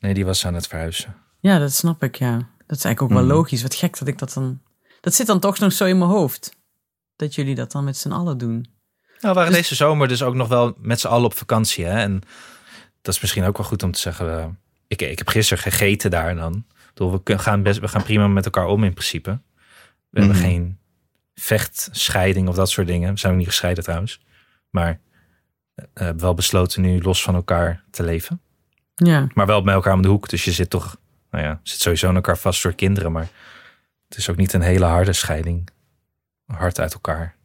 nee, die was aan het verhuizen. Ja, dat snap ik, ja. Dat is eigenlijk ook wel Mhm. logisch. Wat gek dat ik dat dan... Dat zit dan toch nog zo in mijn hoofd. Dat jullie dat dan met z'n allen doen. Nou, we waren Dus- deze zomer dus ook nog wel met z'n allen op vakantie. Hè? En dat is misschien ook wel goed om te zeggen. eh, ik, ik heb gisteren gegeten daar en dan. Ik bedoel, we, kun- gaan best, we gaan prima met elkaar om in principe. We hebben Mhm. geen vechtscheiding of dat soort dingen. We zijn ook niet gescheiden trouwens. Maar eh, we hebben wel besloten nu los van elkaar te leven. Ja. Maar wel bij elkaar om de hoek. Dus je zit toch, nou ja, zit sowieso aan elkaar vast door kinderen. Maar het is ook niet een hele harde scheiding. Hard uit elkaar.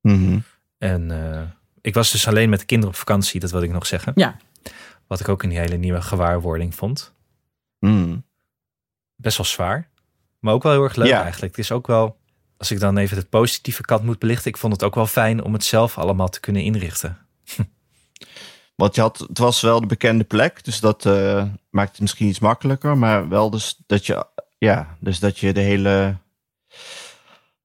Mhm. En eh, ik was dus alleen met de kinderen op vakantie, dat wil ik nog zeggen. Ja. Wat ik ook een hele nieuwe gewaarwording vond. Mhm. Best wel zwaar. Maar ook wel heel erg leuk Ja. eigenlijk. Het is ook wel, als ik dan even de positieve kant moet belichten, ik vond het ook wel fijn om het zelf allemaal te kunnen inrichten. Want je had, het was wel de bekende plek, dus dat eh, maakt het misschien iets makkelijker. Maar wel dus dat je, ja, dus dat je de hele...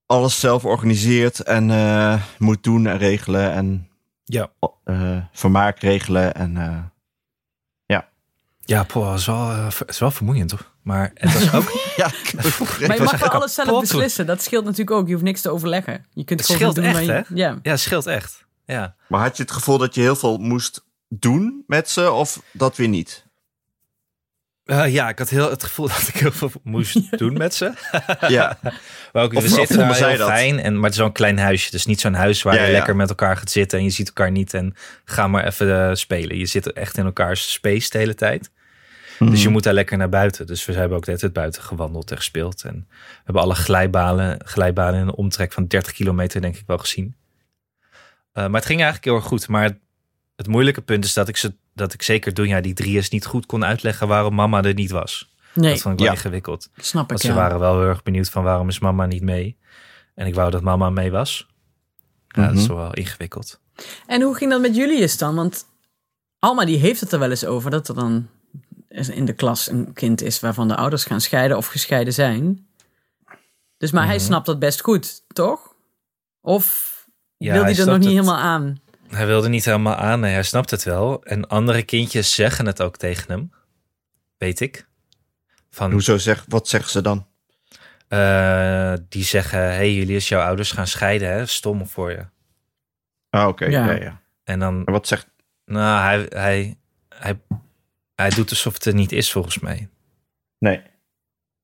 Alles zelf organiseert en eh, moet doen en regelen en Ja. eh, vermaak regelen. En, eh, Ja, poh, het is wel, eh, ver- het is wel vermoeiend, toch? Maar het was ook, ja, Maar je mag was wel eigenlijk alles zelf kapot toen. beslissen. Dat scheelt natuurlijk ook. Je hoeft niks te overleggen. Je kunt Het gewoon scheelt doen waar echt, je- Ja. ja, het scheelt echt. Ja. maar had je het gevoel dat je heel veel moest doen met ze of dat weer niet? Eh, ja, ik had heel het gevoel dat ik heel veel moest doen met ze. Ja, Maar ook, Of- we of zitten vonden daar zij heel dat? fijn, en, maar het is wel een klein huisje. Dus niet zo'n huis waar Ja, je ja. lekker met elkaar gaat zitten en je ziet elkaar niet en ga maar even eh, spelen. Je zit echt in elkaars space de hele tijd. Dus Hmm. je moet daar lekker naar buiten. Dus we hebben ook de hele tijd buiten gewandeld en gespeeld. En we hebben alle glijbanen, glijbanen in een omtrek van 30 kilometer denk ik wel gezien. Eh, maar het ging eigenlijk heel erg goed. Maar het, het moeilijke punt is dat ik, ze, dat ik zeker toen ja, die drie is niet goed kon uitleggen waarom mama er niet was. Nee, Dat vond ik wel Ja. ingewikkeld. snap ik. Want ze ja. waren wel heel erg benieuwd van waarom is mama niet mee. En ik wou dat mama mee was. Ja, dat Mhm. is wel ingewikkeld. En hoe ging dat met Julius dan? Want Alma die heeft het er wel eens over dat er dan in de klas een kind is waarvan de ouders gaan scheiden of gescheiden zijn. Dus maar Mhm. hij snapt dat best goed, toch? Of wil Ja, hij hij er snapt nog niet het. helemaal aan? Hij wilde niet helemaal aan. Nee, hij snapt het wel. En andere kindjes zeggen het ook tegen hem. Weet ik. Van, Hoezo zeg, wat zeggen ze dan? eh, die zeggen, hey Julius, jouw ouders gaan scheiden hè. Stom voor je. Ah, oké. Ja. Ja. Ja, ja. En dan, En wat zegt... nou, hij, hij, hij, hij doet alsof het er niet is volgens mij. Nee.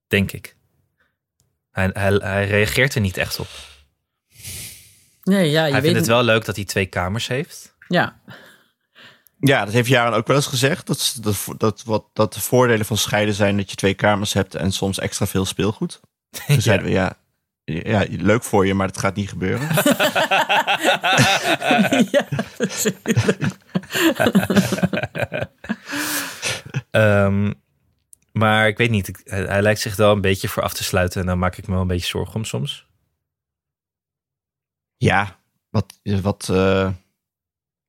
Denk ik. Hij, hij, hij reageert er niet echt op. Nee, ja, je hij weet vindt het het wel leuk dat hij twee kamers heeft. Ja, Ja, dat heeft Jaren ook wel eens gezegd. Dat, ze- dat, vo- dat, wat, dat de voordelen van scheiden zijn dat je twee kamers hebt en soms extra veel speelgoed. Toen zeiden we ja, ja, leuk voor je, maar dat gaat niet gebeuren. ja dat is heel- Ehm, maar ik weet niet, ik- hij, hij lijkt zich wel een beetje voor af te sluiten en daar maak ik me wel een beetje zorgen om soms. ja, wat, wat, eh,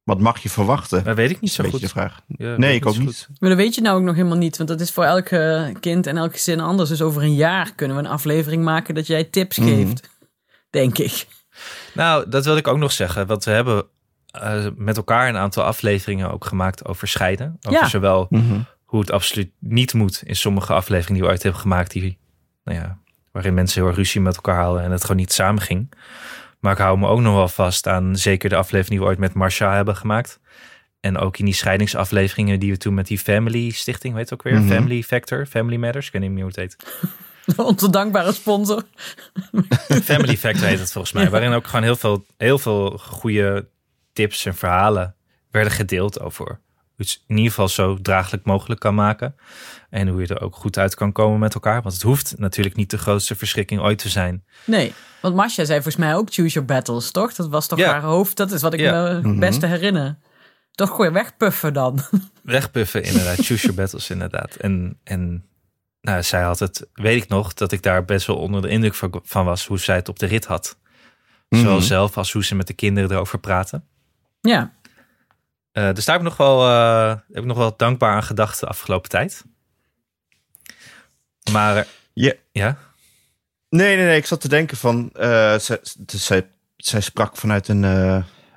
wat mag je verwachten? Maar weet ik niet zo Een beetje goed. de vraag. Ja, weet Nee, ik ook zo niet. goed. maar dat weet je nou ook nog helemaal niet, want dat is voor elk eh, kind en elk gezin anders. Dus over een jaar kunnen we een aflevering maken dat jij tips Mhm. geeft, denk ik. Nou, dat wilde ik ook nog zeggen, want we hebben eh, met elkaar een aantal afleveringen ook gemaakt over scheiden. Over Ja. zowel Mhm. hoe het absoluut niet moet in sommige afleveringen die we ooit hebben gemaakt, die, nou ja, waarin mensen heel erg ruzie met elkaar hadden en het gewoon niet samen ging. Maar ik hou me ook nog wel vast aan zeker de aflevering die we ooit met Marsha hebben gemaakt. En ook in die scheidingsafleveringen die we toen met die Family Stichting, weet ook weer, Mhm. Family Factor, Family Matters, ik weet niet meer hoe het heet. Onze dankbare sponsor. Family Factor heet het volgens mij. Waarin ook gewoon heel veel, heel veel goede tips en verhalen werden gedeeld over hoe je het in ieder geval zo draaglijk mogelijk kan maken. En hoe je er ook goed uit kan komen met elkaar. Want het hoeft natuurlijk niet de grootste verschrikking ooit te zijn. Nee, want Masha zei volgens mij ook choose your battles, toch? Dat was toch Ja. haar hoofd? Dat is wat ik Ja. me het beste herinner. Toch gewoon wegpuffen dan. Wegpuffen inderdaad, choose your battles inderdaad. En, en nou, zij had het, weet ik nog, dat ik daar best wel onder de indruk van, van was hoe zij het op de rit had. Zowel Mhm. zelf als hoe ze met de kinderen erover praten. ja, Eh, dus daar heb ik nog wel, eh, heb ik nog wel dankbaar aan gedacht de afgelopen tijd. Maar eh, Ja. ja, Nee, nee, nee. Ik zat te denken van. eh, zij, dus zij, zij sprak vanuit een. eh,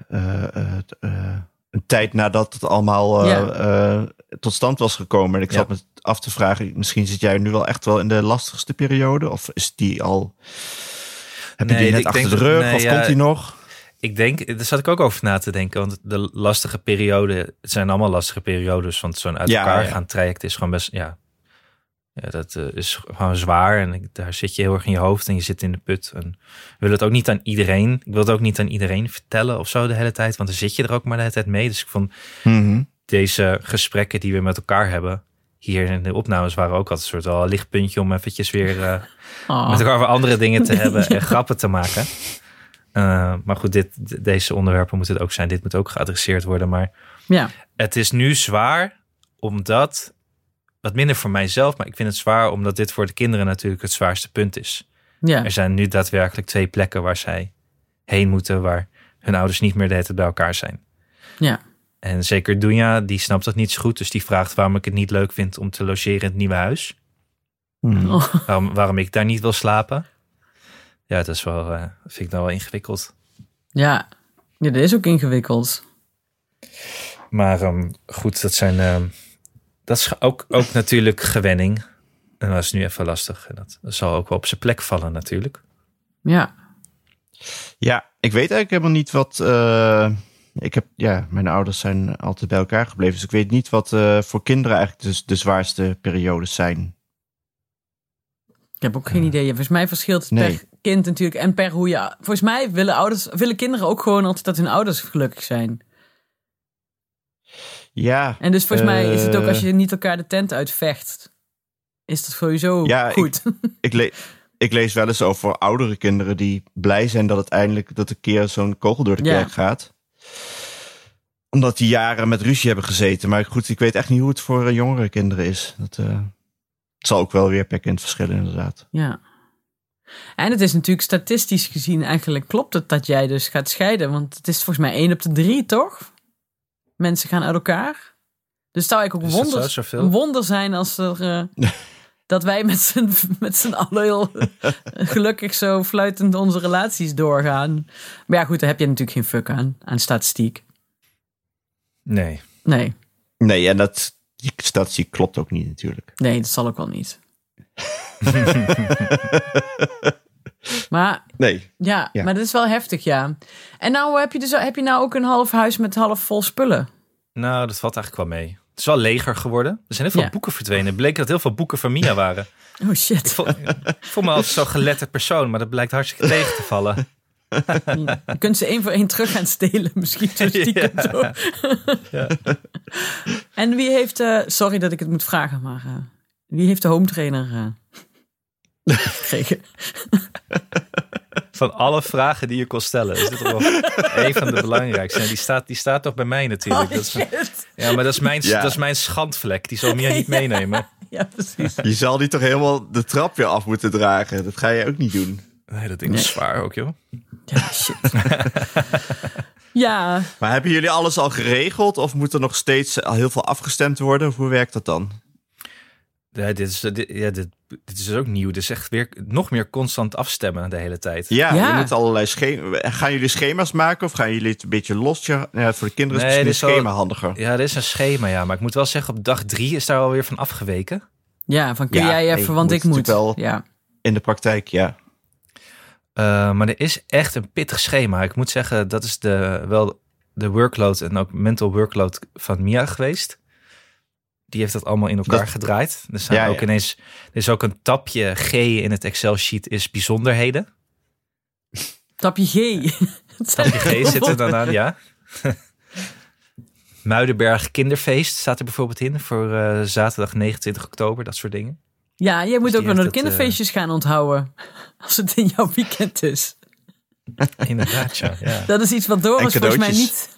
eh, eh, eh, een tijd nadat het allemaal eh, Ja. eh, tot stand was gekomen. En ik Ja. zat me af te vragen. Misschien zit jij nu wel echt wel in de lastigste periode? Of is die al. Heb je Nee, die net ik achter denk de dat- rug? nee, of ja. komt die nog? ik denk, daar zat ik ook over na te denken. Want de lastige perioden, het zijn allemaal lastige periodes. Want zo'n uit Ja, elkaar ja. gaan traject is gewoon best, ja. ja dat eh, is gewoon zwaar. En ik- daar zit je heel erg in je hoofd en je zit in de put. En ik wil het ook niet aan iedereen, ik wil het ook niet aan iedereen vertellen of zo de hele tijd. Want dan zit je er ook maar de hele tijd mee. Dus ik vond, Mhm. deze gesprekken die we met elkaar hebben. Hier in de opnames waren ook altijd een soort wel een lichtpuntje om eventjes weer eh, Oh, met elkaar over andere dingen te hebben en grappen te maken. Eh, maar goed, dit, de- deze onderwerpen moeten het ook zijn. Dit moet ook geadresseerd worden. Maar ja. het is nu zwaar omdat wat minder voor mijzelf, maar ik vind het zwaar omdat dit voor de kinderen natuurlijk het zwaarste punt is. Ja. Er zijn nu daadwerkelijk twee plekken waar zij heen moeten, waar hun ouders niet meer de hele tijd bij elkaar zijn. ja. En zeker Dunja, die snapt dat niet zo goed. Dus die vraagt waarom ik het niet leuk vind om te logeren in het nieuwe huis. Waarom, waarom ik daar niet wil slapen. Ja, dat is wel, eh, vind ik nou wel ingewikkeld. Ja. ja, dat is ook ingewikkeld. Maar ehm, goed, dat zijn. ehm, dat is ook, ook natuurlijk gewenning. En dat is nu even lastig. En dat zal ook wel op zijn plek vallen, natuurlijk. Ja. Ja, ik weet eigenlijk helemaal niet wat. eh, ik heb, ja, mijn ouders zijn altijd bij elkaar gebleven. Dus ik weet niet wat eh, voor kinderen eigenlijk de, de zwaarste periodes zijn. Ik heb ook geen idee. Ja, Volgens mij verschilt het Nee. per kind natuurlijk en per hoe je... Volgens mij willen, ouders, willen kinderen ook gewoon altijd dat hun ouders gelukkig zijn. Ja, En dus volgens mij is het ook Eh. als je niet elkaar de tent uitvecht, is dat sowieso Ja, ik- goed. ik, le- ik lees wel eens over oudere kinderen die blij zijn dat het eindelijk dat een keer zo'n kogel door de Ja. kerk gaat. Omdat die jaren met ruzie hebben gezeten. Maar goed, ik weet echt niet hoe het voor eh, jongere kinderen is. Dat, eh, het zal ook wel weer per kind verschillen, inderdaad. Ja. En het is natuurlijk statistisch gezien eigenlijk klopt het dat jij dus gaat scheiden. Want het is volgens mij 1 op de 3, toch? Mensen gaan uit elkaar. Dus het zou eigenlijk ook Is dat wonder, zo, zoveel? een wonder zijn als er, eh, dat wij met z'n, met z'n allen heel gelukkig zo fluitend onze relaties doorgaan. Maar ja goed, daar heb je natuurlijk geen fuck aan, aan statistiek. Nee. Nee, Nee, en dat, die statistiek klopt ook niet natuurlijk. nee, dat zal ook wel niet. maar Nee. Ja, Ja. maar dat is wel heftig, ja. En nou heb je, dus, heb je nou ook een half huis met half vol spullen. Nou, dat valt eigenlijk wel mee. Het is wel leger geworden. Er zijn heel veel Ja. boeken verdwenen. Het bleek dat heel veel boeken van Mia waren. Oh Ik shit. voel, ik voel me altijd zo'n geletterd persoon, maar dat blijkt hartstikke tegen te vallen. Je kunt ze één voor één terug gaan stelen, misschien. Zo stiekem Ja. zo. Ja. En wie heeft, eh, sorry dat ik het moet vragen, maar eh, wie heeft de home trainer eh, gekregen? Van alle vragen die je kon stellen. Is dit toch wel een van de belangrijkste? En die staat, die staat toch bij mij natuurlijk. Oh Dat is, shit. ja, maar dat is, mijn, Ja. dat is mijn schandvlek. Die zal Mia niet meenemen. Ja, precies. Je zal die toch helemaal de trap weer af moeten dragen. Dat ga je ook niet doen. Nee, dat ding is zwaar ook, joh. Ja, shit. Ja, Maar hebben jullie alles al geregeld? Of moet er nog steeds al heel veel afgestemd worden? Of hoe werkt dat dan? Ja, dit, is, dit, ja, dit, dit is ook nieuw. Dit is echt weer nog meer constant afstemmen de hele tijd. Ja, Ja. je moet allerlei schema's... Gaan jullie schema's maken of gaan jullie het een beetje los? Ja, nou ja, voor de kinderen is Nee, dit misschien een is wel- schema handiger. Ja, er is een schema, ja. Maar ik moet wel zeggen, op dag drie is daar alweer van afgeweken. ja van kun Ja, jij nee, even, want moet ik moet. natuurlijk wel. Ja. In de praktijk, ja. Eh, maar er is echt een pittig schema. Ik moet zeggen, dat is de, wel de workload en ook mental workload van Mia geweest. Die heeft dat allemaal in elkaar Dat- gedraaid. Er zijn Ja, ook ja. ineens, er is ook een tapje G in het Excel sheet is bijzonderheden. Tapje G. Het zijn Tapje G zit er dan aan, ja. Muidenberg Kinderfeest staat er bijvoorbeeld in voor eh, zaterdag 29 oktober, dat soort dingen. Ja, jij moet die ook wel naar de heeft het, eh, kinderfeestjes gaan onthouden. Als het in jouw weekend is. Inderdaad, ja. ja. Dat is iets wat Doris En volgens mij cadeautjes.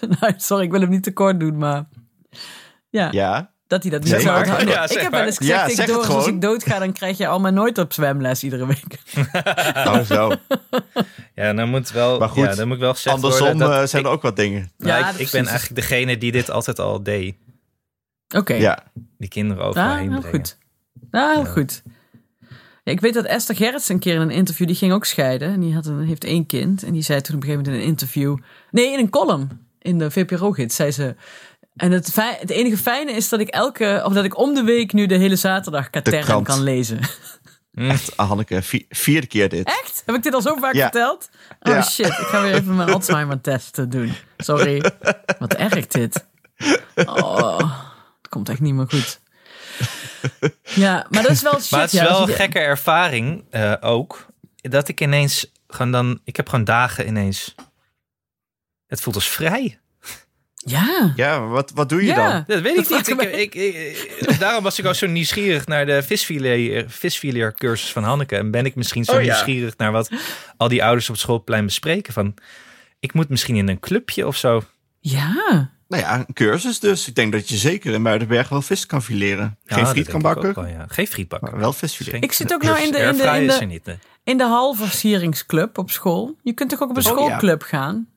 niet... nou, sorry, ik wil hem niet tekort doen, maar... Ja, Ja, dat hij dat niet Zeg zou maar. onthouden. Ja, ik zeg heb maar. wel eens gezegd Ja, tegen zeg het Doris, als gewoon. ik doodga, dan krijg je allemaal nooit op zwemles iedere week. nou zo. ja, dan moet wel, Maar goed, ja, dan moet wel gezegd Andersom worden dat eh, zijn ik- er ook wat dingen. Ja, Nou, ik, dat ik precies. ben eigenlijk degene die dit altijd al deed. Oké, Ja, Die kinderen over me ah, heen heel brengen. goed. Ah, heel goed. Ja, ik weet dat Esther Gerrits een keer in een interview, die ging ook scheiden. En die had een, heeft één kind. En die zei toen op een gegeven moment in een interview... Nee, in een column in de VPRO-gids zei ze... En het, fij- het enige fijne is dat ik elke, of dat ik om de week nu de hele zaterdag Katern krant. kan lezen. echt, ah, Hanneke, vi- vierde keer dit. Echt? Heb ik dit al zo vaak Ja. verteld? Oh Ja. shit, ik ga weer even mijn Alzheimer-test doen. Sorry. Wat erg dit. Oh, het komt echt niet meer goed. Ja, maar dat is wel shit. Maar het is ja, wel als een je- gekke ervaring eh, ook. Dat ik ineens gewoon dan... Ik heb gewoon dagen ineens... Het voelt als vrij. Ja. Ja, maar wat, wat doe je dan? Ja, Dat weet ik Dat niet. Ik, vraag ik, ik- eh, daarom was ik ook zo nieuwsgierig naar de visfileer- visfileer-cursus van Hanneke. En ben ik misschien zo Oh ja. nieuwsgierig naar wat al die ouders op het schoolplein bespreken. Van, ik moet misschien in een clubje of zo. Ja. Nou ja, een cursus dus. Ik denk dat je zeker in Muidenberg wel vis kan fileren. Ja, Geen dat friet denk kan ik ook bakken, wel, ja. Geen friet bakken. maar wel vis fileren. Ik zit ook nou in de, in de, Airfryer in is er de, niet, nee. in de halversieringsclub op school. Je kunt toch ook op een Oh, ja. schoolclub gaan?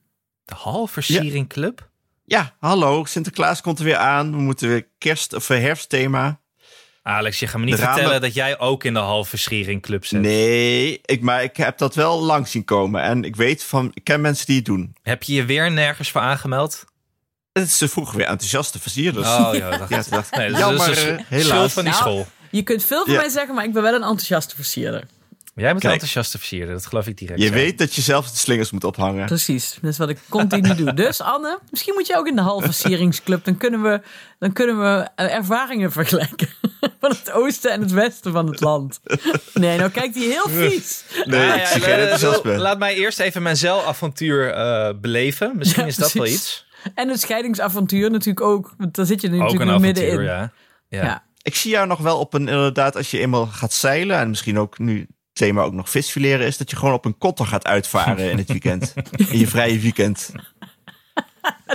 De halversieringclub? Ja, hallo, Sinterklaas komt er weer aan. We moeten weer kerst- of eh, herfstthema. Alex, je gaat me niet De ramen- vertellen dat jij ook in de halversieringclub zit. Nee, ik, maar ik heb dat wel lang zien komen. En ik weet van, ik ken mensen die het doen. Heb je je weer nergens voor aangemeld? En Ze vroegen weer enthousiaste versierders. Oh ja, dacht Dus- Ja, ik. toen dacht ik, Nee, dat is jammer, dus eh, een schuld helaas. van die Nou, school. Je kunt veel van Ja. mij zeggen, maar ik ben wel een enthousiaste versierder. Jij bent een Kijk. enthousiaste versierder, dat geloof ik direct. Je zo. weet dat je zelf de slingers moet ophangen. Precies, dat is wat ik continu doe. Dus Anne, misschien moet je ook in de halversieringsclub. Dan kunnen we, dan kunnen we eh, ervaringen vergelijken. Van het oosten en het westen van het land. Nee, nou kijkt hij heel vies. Nee, Nou ik ja, zie geen eh, enthousiasme. Laat mij eerst even mijn zeilavontuur eh, beleven. Misschien Ja, is dat wel precies. iets. En het scheidingsavontuur natuurlijk ook. Want daar zit je nu Ook natuurlijk een nu middenin. avontuur, ja. Ja. Ja. Ik zie jou nog wel op een, inderdaad, als je eenmaal gaat zeilen... en misschien ook nu het thema ook nog visfileren is... dat je gewoon op een kotter gaat uitvaren in het weekend. In je vrije weekend.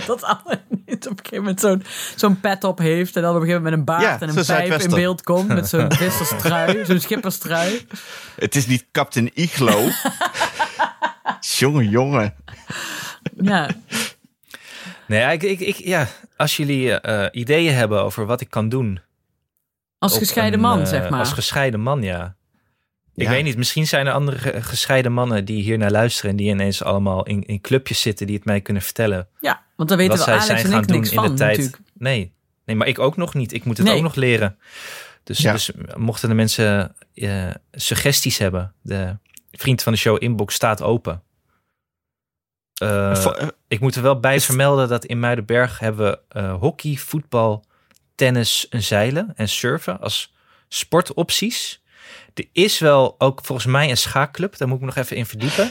Dat Anne niet op een gegeven moment zo'n zo'n pet op heeft. En dan op een gegeven moment met een baard Ja, en zo'n een pijp in Zuidwester. beeld komt. Met zo'n visserstrui, zo'n schipperstrui. Het is niet Captain Iglo. jongen, jongen. Ja, Nee, ja, ik, ik, ik, ja, als jullie eh, ideeën hebben over wat ik kan doen. als op gescheiden een, man, eh, zeg maar. Als gescheiden man, ja. Ik Ja. weet niet, misschien zijn er andere ge- gescheiden mannen die hier naar luisteren. en die ineens allemaal in, in clubjes zitten die het mij kunnen vertellen. ja, want daar weten wat we zij Alex zijn en gaan ik doen niks in van de tijd. natuurlijk. Nee. nee, maar ik ook nog niet. Ik moet het Nee. ook nog leren. Dus, Ja. dus mochten de mensen eh, suggesties hebben, de vriend van de show inbox staat open. Eh, Vo- eh, ik moet er wel bij Is- vermelden dat in Muidenberg hebben we eh, hockey, voetbal, tennis, en zeilen en surfen als sportopties. Er is wel ook volgens mij een schaakclub. Daar moet ik me nog even in verdiepen.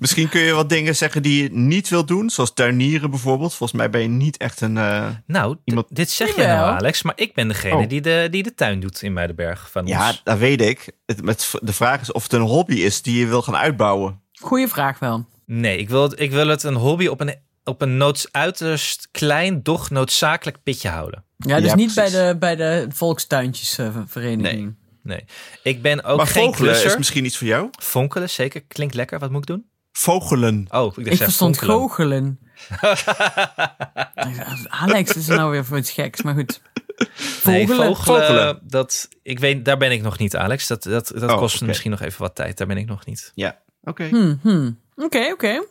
misschien kun je wat dingen zeggen die je niet wilt doen. Zoals tuinieren bijvoorbeeld. Volgens mij ben je niet echt een... eh, Nou, d- Iemand- dit zeg je nou Jawel. Alex, maar ik ben degene Oh. die, de, die de tuin doet in Muidenberg van Ja, ons. dat weet ik. Het, met, de vraag is of het een hobby is die je wil gaan uitbouwen. Goeie vraag wel. Nee, ik wil, het- ik wil het een hobby op een, op een noods, uiterst klein, doch noodzakelijk pitje houden. Ja, dus Ja, niet bij precies. de, bij de eh, volkstuintjesvereniging. Nee. Nee, ik ben ook maar geen vogelen is klusser. misschien iets voor jou. Vonkelen, zeker. Klinkt lekker. Wat moet ik doen? Vogelen. Oh, ik, dacht, Ik zei verstond vonkelen. goochelen. Ik dacht, Alex is er nou weer voor iets geks, maar goed. Nee, Vogelen. vogelen, Vogelen. Dat, ik weet, daar ben ik nog niet, Alex. Dat, dat, dat Oh, kost oké. misschien nog even wat tijd. Daar ben ik nog niet. Ja, oké. Hm. Hmm, hmm. Oké, oké.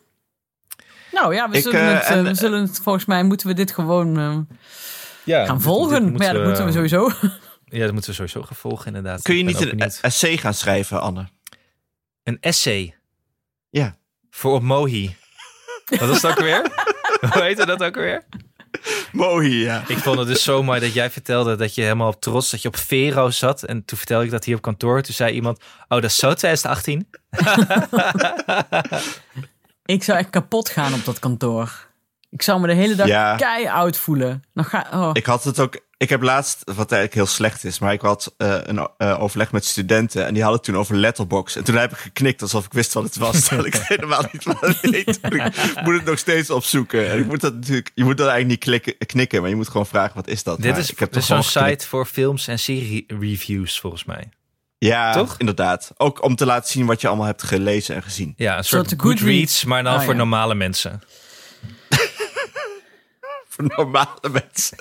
Nou ja, we Ik, zullen, eh, het, eh, en- we zullen het, volgens mij moeten we dit gewoon eh, Ja, gaan volgen. maar ja, dat moeten we sowieso. eh, Ja, dat moeten we sowieso gaan volgen, inderdaad. Kun je Ik ben niet ook een e- benieuwd. essay gaan schrijven, Anne? een essay Ja. voor op Mohi? Wat is dat ook weer? Hoe heette dat ook weer? Mohi, ja. Ik vond het dus zo mooi dat jij vertelde dat je helemaal op trots dat je op Vero zat. En toen vertelde ik dat hier op kantoor. Toen zei iemand, oh, dat is zo 2018. Ik zou echt kapot gaan op dat kantoor. Ik zou me de hele dag Ja. keioud voelen. Nou, ga, oh. Ik had het ook. Ik heb laatst, wat eigenlijk heel slecht is, maar ik had eh, een eh, overleg met studenten en die hadden het toen over letterbox. En toen heb ik geknikt alsof ik wist wat het was, terwijl ik het helemaal niet wat weet. Ik moet het nog steeds opzoeken. En ik moet dat natuurlijk, je moet dat eigenlijk niet klikken, knikken, maar je moet gewoon vragen wat is dat. Dit Maar is, ik heb dit is toch zo'n gewoon geknikt. site voor films en serie reviews, volgens mij. Ja, toch? inderdaad. Ook om te laten zien wat je allemaal hebt gelezen en gezien. Ja, een soort soort Goodreads, Goodreads, maar dan Ah, voor ja. normale mensen. Voor normale mensen.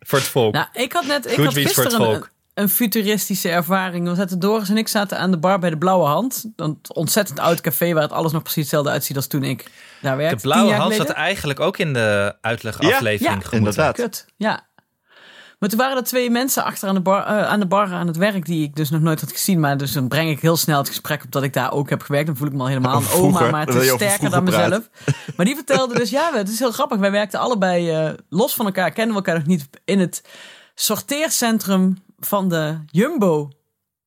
Voor het volk. Nou, ik had net ik had Goodreads voor het gisteren een, volk. een futuristische ervaring. We zaten Doris en ik zaten aan de bar bij de Blauwe Hand. Een ontzettend oud café waar het alles nog precies hetzelfde uitziet als toen ik daar werkte. de tien blauwe jaar hand zat geleden. eigenlijk ook in de Ja, uitlegaflevering. ja, gemoeten. inderdaad. Kut, ja. Maar toen waren er twee mensen achter aan de, bar, eh, aan de bar aan het werk die ik dus nog nooit had gezien. Maar dus dan breng ik heel snel het gesprek op dat ik daar ook heb gewerkt. Dan voel ik me al helemaal een Over vroeger. oma, maar het Dan wil is je over sterker dan vroeger mezelf. Maar die vertelde dus, ja, het is heel grappig. Wij werkten allebei eh, los van elkaar, kennen we elkaar nog niet, in het sorteercentrum van de Jumbo.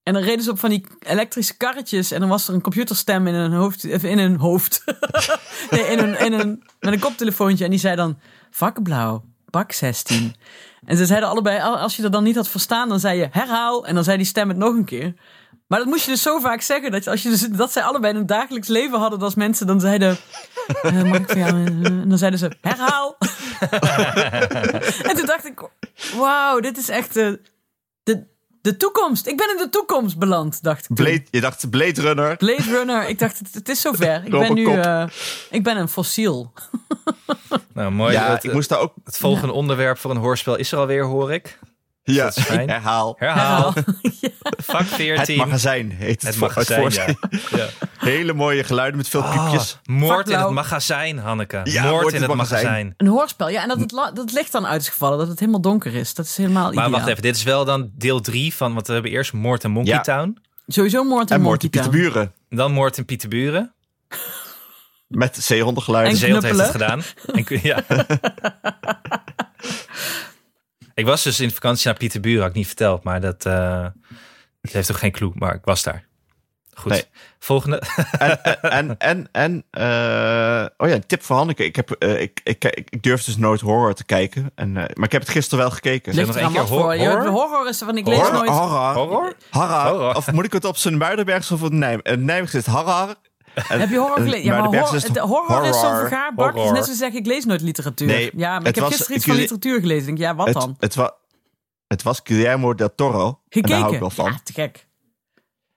En dan reden ze op van die elektrische karretjes. En dan was er een computerstem in hun hoofd. of In hun hoofd. nee, in een, in een, met een koptelefoontje. En die zei dan: Vakkenblauw, bak 16. En ze zeiden allebei: al- Als je dat dan niet had verstaan, dan zei je herhaal. En dan zei die stem het nog een keer. Maar dat moest je dus zo vaak zeggen. Dat, je- als je dus, dat zij allebei een dagelijks leven hadden. dat Als mensen dan zeiden... eh, mag ik van jou, eh, En dan zeiden ze, herhaal. en toen dacht ik, wauw, dit is echt eh, de, de toekomst. Ik ben in de toekomst beland, dacht ik. toen. Blade, je dacht Blade Runner. Blade Runner. Ik dacht, het, het is zover. Ik ben nu... Robocop. eh, ik ben een fossiel. Nou, mooi. ja, dat, ik moest daar ook... Het volgende onderwerp van een hoorspel is er alweer, hoor ik. Ja, dat is fijn. herhaal. Herhaal. Ja. Vak 14. Het magazijn heet Het voor- magazijn, voor- ja. ja. Hele mooie geluiden met veel piepjes. Ah, moord in Vakblauw. het magazijn, Hanneke. Ja, moord in het magazijn. Een hoorspel. Ja, en dat, het la- dat ligt dan uitgevallen. Dat het helemaal donker is. Dat is helemaal Maar ideaal. wacht even, dit is wel dan deel 3 van, want we hebben eerst moord in Monkey Ja. Town. Sowieso moord in En Moord in Monkey Town. Pieterburen. Dan moord in Pieterburen. Met zeehondengeluiden. En- Zeeland heeft het knuppelen. gedaan. En, kun- ja. ik was dus in vakantie naar Pieterburen, had ik niet verteld, maar dat, eh, dat heeft ook geen clue, maar ik was daar. Goed, Nee. volgende. en, en, en eh, oh ja, een tip voor Hanneke. Ik, heb, eh, ik, ik, ik, ik durf dus nooit horror te kijken. En, eh, maar ik heb het gisteren wel gekeken. Ligt Ligt nog er aan één wat keer hor- voor. Ja, horror? horror is er van ik lees Horror, nooit. horror, Horror? Harra. Horror. Of moet ik het op zijn Muidenbergs of op Nijm eh, Nijmegen? Is het Harra? En- Heb je horror en gelezen? Ja, maar Muidenbergs horror, is het de horror, is zo'n horror. vergaarbak. Het is Horror. net zo zeggen, ik lees nooit literatuur. Nee, ja, maar ik het heb was- gisteren ik iets van jullie- literatuur gelezen. Ik denk, ja, wat Het, dan? het, wa- het was Guillermo del Toro. En daar hou ik Gekeken. wel van. Ja, te gek.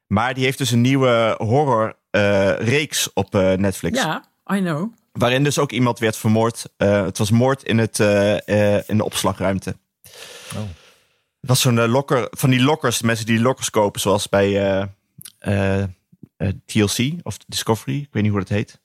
Maar die heeft dus een nieuwe horror eh, reeks op eh, Netflix. Ja, I know. Waarin dus ook iemand werd vermoord. Eh, het was moord in, het, eh, eh, in de opslagruimte. Oh. Het was zo'n eh, lokker, van die lokkers, mensen die lokkers kopen, zoals bij eh, eh, eh, TLC of Discovery. Ik weet niet hoe dat heet.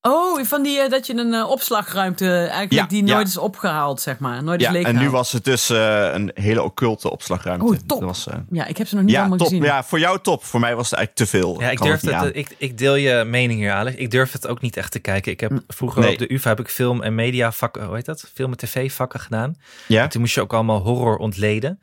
Oh, van die eh, dat je een eh, opslagruimte eigenlijk Ja, die ja. nooit is opgehaald, zeg maar. Nooit is Ja, en leeggehaald. nu was het dus eh, een hele occulte opslagruimte. Oh, top. Dat was, eh, Ja, ik heb ze nog niet ja, allemaal top. gezien. Ja, voor jou top. Voor mij was het eigenlijk te veel. Ja, ik, kan durf het niet het, aan. eh, ik, ik deel je mening hier, Alex. Ik durf het ook niet echt te kijken. Ik heb vroeger Hm. Nee. op de UvA heb ik film en media vakken, hoe heet dat? Film en tv vakken gedaan. Ja? En toen moest je ook allemaal horror ontleden.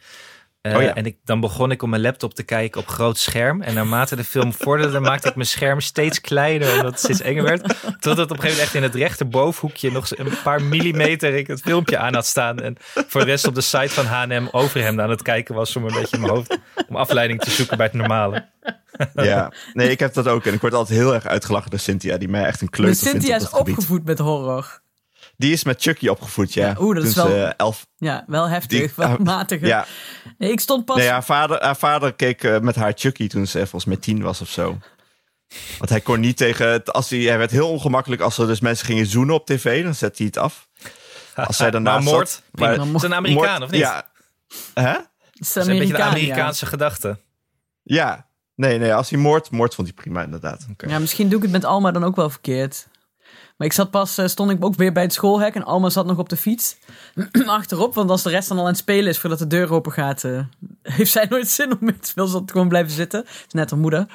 Eh, Oh ja. En ik, dan begon ik op mijn laptop te kijken op groot scherm. En naarmate de film vorderde, maakte ik mijn scherm steeds kleiner, omdat het steeds enger werd. Totdat op een gegeven moment echt in het rechterbovenhoekje nog een paar millimeter ik het filmpje aan had staan. En voor de rest op de site van H&M over hem aan het kijken was om een beetje in mijn hoofd, om afleiding te zoeken bij het normale. Ja, nee, ik heb dat ook. En ik word altijd heel erg uitgelachen door Cynthia, die mij echt een Dus kleuter vindt Cynthia op is dat gebied. opgevoed met horror. Die is met Chucky opgevoed, ja. Ja, oeh, dat is Toen ze, wel- eh, elf... Ja, wel heftig, Die- wel matige. Ja, Nee, ik stond pas... nee, haar, vader, haar vader keek eh, met haar Chucky toen ze eh, volgens mij tien was of zo. Want hij kon niet tegen... het- Als hij, hij werd heel ongemakkelijk als er dus mensen gingen zoenen op tv. Dan zette hij het af. Als zij daarna Maar moord? zat- Prima, dan Het is een Amerikaan, moord- of niet? Ja. Hè? het is Dat is een beetje de Amerikaan, ja. Amerikaanse gedachte. Ja. Nee, nee, als hij moord... Moord vond hij prima, inderdaad. Ja, misschien doe ik het met Alma dan ook wel verkeerd. Maar ik zat pas, eh, stond ik ook weer bij het schoolhek en Alma zat nog op de fiets achterop. Want als de rest dan al aan het spelen is voordat de deur open gaat, eh, heeft zij nooit zin om met wil ze altijd gewoon blijven zitten. Het is net haar moeder.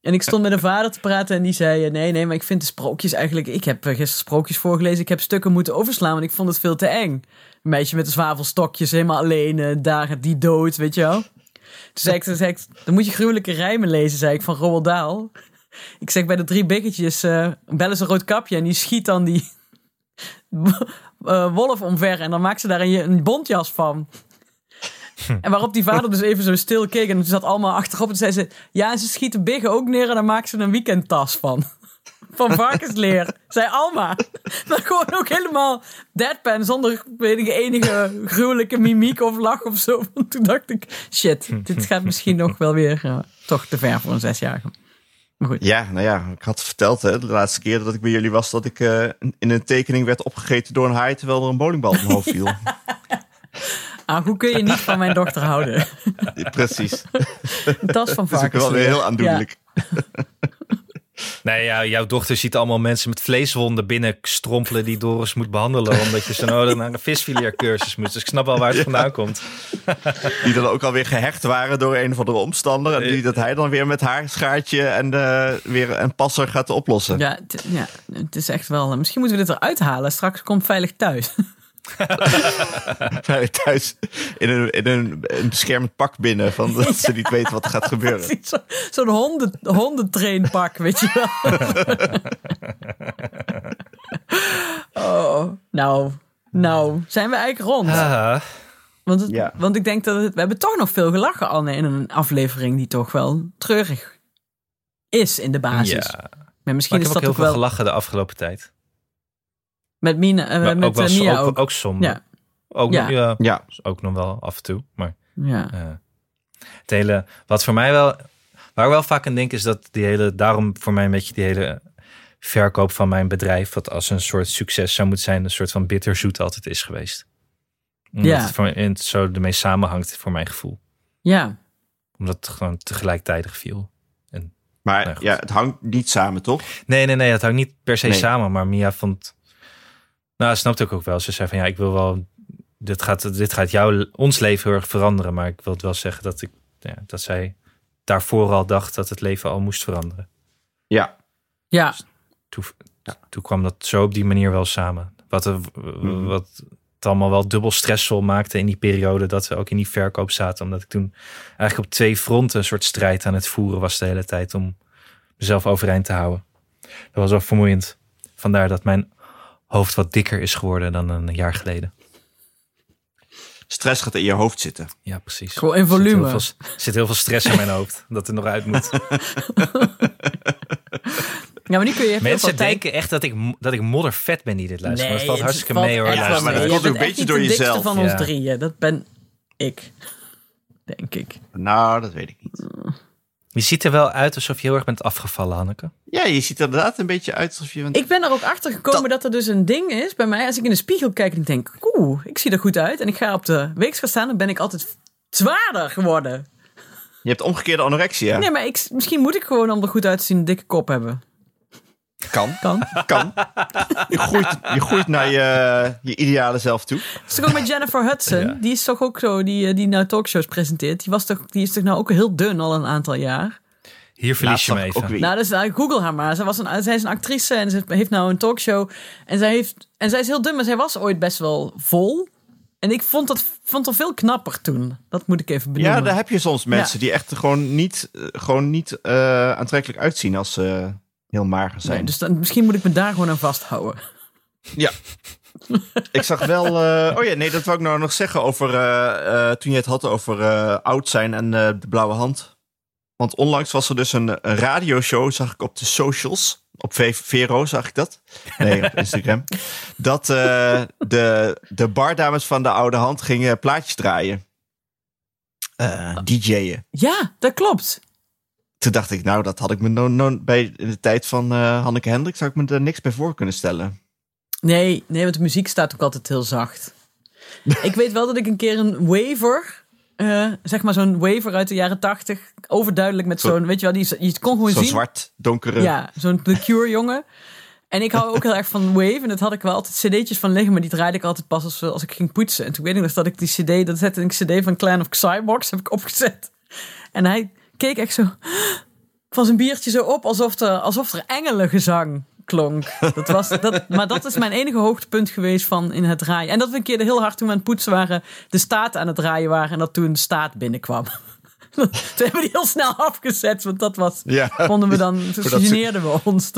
En ik stond met een vader te praten en die zei: eh, Nee, nee, maar ik vind de sprookjes eigenlijk. Ik heb eh, gisteren sprookjes voorgelezen. Ik heb stukken moeten overslaan, want ik vond het veel te eng. Een meisje met de zwavelstokjes, helemaal alleen, eh, daar gaat die dood, weet je wel. Toen zei ik, toen zei ik: Dan moet je gruwelijke rijmen lezen, zei ik van Roald Dahl. Ik zeg bij de drie biggetjes, eh bellen ze rood kapje en die schiet dan die eh, wolf omver en dan maakt ze daar een, een bontjas van. En waarop die vader dus even zo stil keek en toen zat allemaal achterop en zei ze, ja en ze schieten biggen ook neer en dan maakt ze een weekendtas van. Van varkensleer, zei Alma. Maar gewoon ook helemaal deadpan, zonder enige, enige gruwelijke mimiek of lach of zo. Want toen dacht ik, shit, dit gaat misschien nog wel weer eh, toch te ver voor een zesjarige. Maar goed. Ja, nou ja, ik had verteld hè, de laatste keer dat ik bij jullie was... dat ik eh, in een tekening werd opgegeten door een haai... terwijl er een bowlingbal op mijn hoofd viel. Ah, hoe kun je niet van mijn dochter houden? Precies. Een tas van Dat is ook wel weer varkensleer. heel aandoenlijk. Nee, ja, jouw dochter ziet allemaal mensen met vleeswonden binnenstrompelen die Doris moet behandelen. Omdat je ze nodig naar een visfileercursus moet. Dus ik snap wel waar het vandaan komt. Die dan ook alweer gehecht waren door een of andere omstander. En die dat hij dan weer met haar schaartje en eh, weer een passer gaat oplossen. Ja, het- ja, het is echt wel... eh, Misschien moeten we dit eruit halen. Straks komt veilig thuis. Bij- Thuis in, een, in een, een beschermend pak binnen. Van dat ze niet weten wat er gaat gebeuren. Precies, zo- Zo'n honden, hondentrainpak, weet je wel. oh, nou, nou, zijn we eigenlijk rond. Ah, Want, het- Ja. want ik denk dat het, we hebben toch nog veel gelachen, Anne, in een aflevering die toch wel treurig is in de basis. Ja. Maar Maar misschien ik is heb ook dat heel ook veel wel gelachen de afgelopen tijd. met Mina, eh, Maar met ook wel eh, so- Mia ook, ook. ook som. Ja. Ook, Ja. Nog, ja, Ja, ook nog wel af en toe. Maar Ja. eh, het hele, wat voor mij wel, waar ik wel vaak aan denk, is dat die hele, daarom voor mij een beetje die hele verkoop van mijn bedrijf, wat als een soort succes zou moeten zijn, een soort van bitterzoet altijd is geweest. Omdat Ja. het voor mij en het zo ermee samenhangt voor mijn gevoel. ja, Omdat het gewoon tegelijkertijd viel. maar Nee, goed. ja, het hangt niet samen, toch? Nee, nee, nee, dat hangt niet per se Nee. samen. Maar Mia vond. Nou, dat snapte ik ook wel. Ze zei van ja, ik wil wel. Dit gaat, dit gaat jouw, ons leven heel erg veranderen. Maar ik wil het wel zeggen dat, ik, ja, dat zij daarvoor al dacht dat het leven al moest veranderen. Ja, ja, Toen, toen kwam dat zo op die manier wel samen. Wat, er- wat het allemaal wel dubbel stressvol maakte in die periode dat we ook in die verkoop zaten. Omdat ik toen eigenlijk op twee fronten een soort strijd aan het voeren was de hele tijd om mezelf overeind te houden. Dat was wel vermoeiend. Vandaar dat mijn hoofd wat dikker is geworden dan een jaar geleden. stress gaat in je hoofd zitten. Ja, precies. Gewoon in Er zit heel volume. veel- Er zit, heel veel stress in mijn hoofd dat er nog uit moet. ja, maar nu kun je heel veel Mensen tijd- denken echt dat ik, mo- dat ik moddervet ben die dit luistert. maar het valt het hartstikke valt mee hoor. echt wel luisteraars. maar mee. Jij dat komt ook bent een echt niet beetje door de dikste jezelf. van ons Ja. drieën. Dat ben ik, denk ik. Nou, dat weet ik niet. Je ziet er wel uit alsof je heel erg bent afgevallen, Hanneke. Ja, je ziet er inderdaad een beetje uit alsof je... Ik ben er ook achter gekomen dat er dus een ding is bij mij. Als ik in de spiegel kijk en ik denk, oeh, ik zie er goed uit. En ik ga op de weegschaal staan, dan ben ik altijd zwaarder geworden. Je hebt omgekeerde anorexia. Nee, maar ik, misschien moet ik gewoon om er goed uit te zien een dikke kop hebben. Kan, Kan. kan. Je groeit, je groeit naar je, je ideale zelf toe. Dat is toch ook met Jennifer Hudson. Ja. Die is toch ook zo, die, eh, die nou talkshows presenteert. Die, was toch, die is toch nou ook heel dun al een aantal jaar. Hier verlies Laatst je me zag ik even. ook weer Nou, dus, nou, google haar maar. Zij, was een, zij is een actrice en ze heeft nou een talkshow. En zij, heeft, en zij is heel dun, maar zij was ooit best wel vol. En ik vond dat vond haar veel knapper toen. Dat moet ik even benoemen. Ja, daar heb je soms mensen die echt gewoon niet, eh, gewoon niet eh, aantrekkelijk uitzien als ze eh, heel mager zijn. Nee, dus dan, misschien moet ik me daar gewoon aan vasthouden. Ja. ik zag wel. eh, oh ja, nee, dat wou ik nou nog zeggen over. eh, eh, toen je het had over eh, oud zijn en eh, de blauwe hand. Want onlangs was er dus een, een radioshow, zag ik op de socials. Op V- Vero zag ik dat. Nee, op Instagram. dat eh, de, de bardames van de oude hand gingen plaatjes draaien. Eh DJ'en. Ja, dat klopt. Toen dacht ik, nou, dat had ik me no no- bij de tijd van eh, Hanneke Hendrik, zou ik me daar niks bij voor kunnen stellen. Nee, nee, want de muziek staat ook altijd heel zacht. ik weet wel dat ik een keer een waver, eh, zeg maar zo'n waver uit de jaren tachtig, overduidelijk met Zo- zo'n, weet je wel, die, je kon gewoon Zo'n zien. zwart, donkere. Ja, zo'n The Cure jongen. En ik hou ook heel erg van Wave. En dat had ik wel altijd cd'tjes van liggen. Maar die draaide ik altijd pas als, als ik ging poetsen. En toen weet ik nog dat ik die cd... Dat zette ik cd van Clan of Cyborgs heb ik opgezet. En hij keek echt zo... Van zijn biertje zo op. Alsof er, alsof er engelengezang klonk. Dat was, dat, maar dat is mijn enige hoogtepunt geweest van in het draaien. En dat we een keer heel hard toen we aan het poetsen waren... De staat aan het draaien waren. En dat toen de staat binnenkwam. Toen hebben we die heel snel afgezet. Want dat was... Ja. Vonden we dan... Toen Voordat ze- geneerden we ons.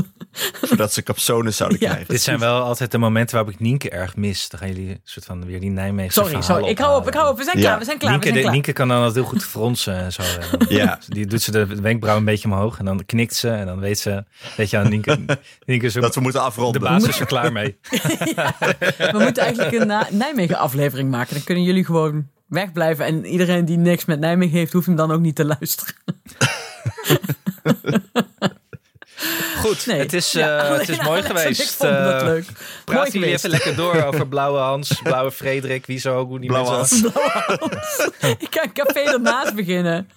Voordat ze capsones zouden Ja. krijgen. Dit zijn wel altijd de momenten waarop ik Nienke erg mis. Dan gaan jullie een soort van weer die Nijmeegse Sorry, verhalen sorry. Ik hou op, ik ophalen. hou op. We zijn Ja. klaar, we zijn klaar, we zijn Nienke, de- klaar. Nienke kan dan altijd heel goed fronsen en zo. En dan- Ja. Die doet ze de wenkbrauw een beetje omhoog en dan knikt ze. En dan weet ze, weet je aan Nienke, Nienke is ook- Dat we moeten de afronden. baas is er klaar mee. We moeten eigenlijk een Na- Nijmegen aflevering maken. Dan kunnen jullie gewoon wegblijven. En iedereen die niks met Nijmegen heeft, hoeft hem dan ook niet te luisteren. Goed, Nee. het is, Ja, eh, alleen het is mooi Alex en geweest. Ik vond dat Eh, leuk. Mooi Praten jullie geweest. even lekker door over Blauwe Hans, Blauwe Frederik, wie zo, hoe die Blauwe mensen- Hans. Ik ga een café ernaast beginnen.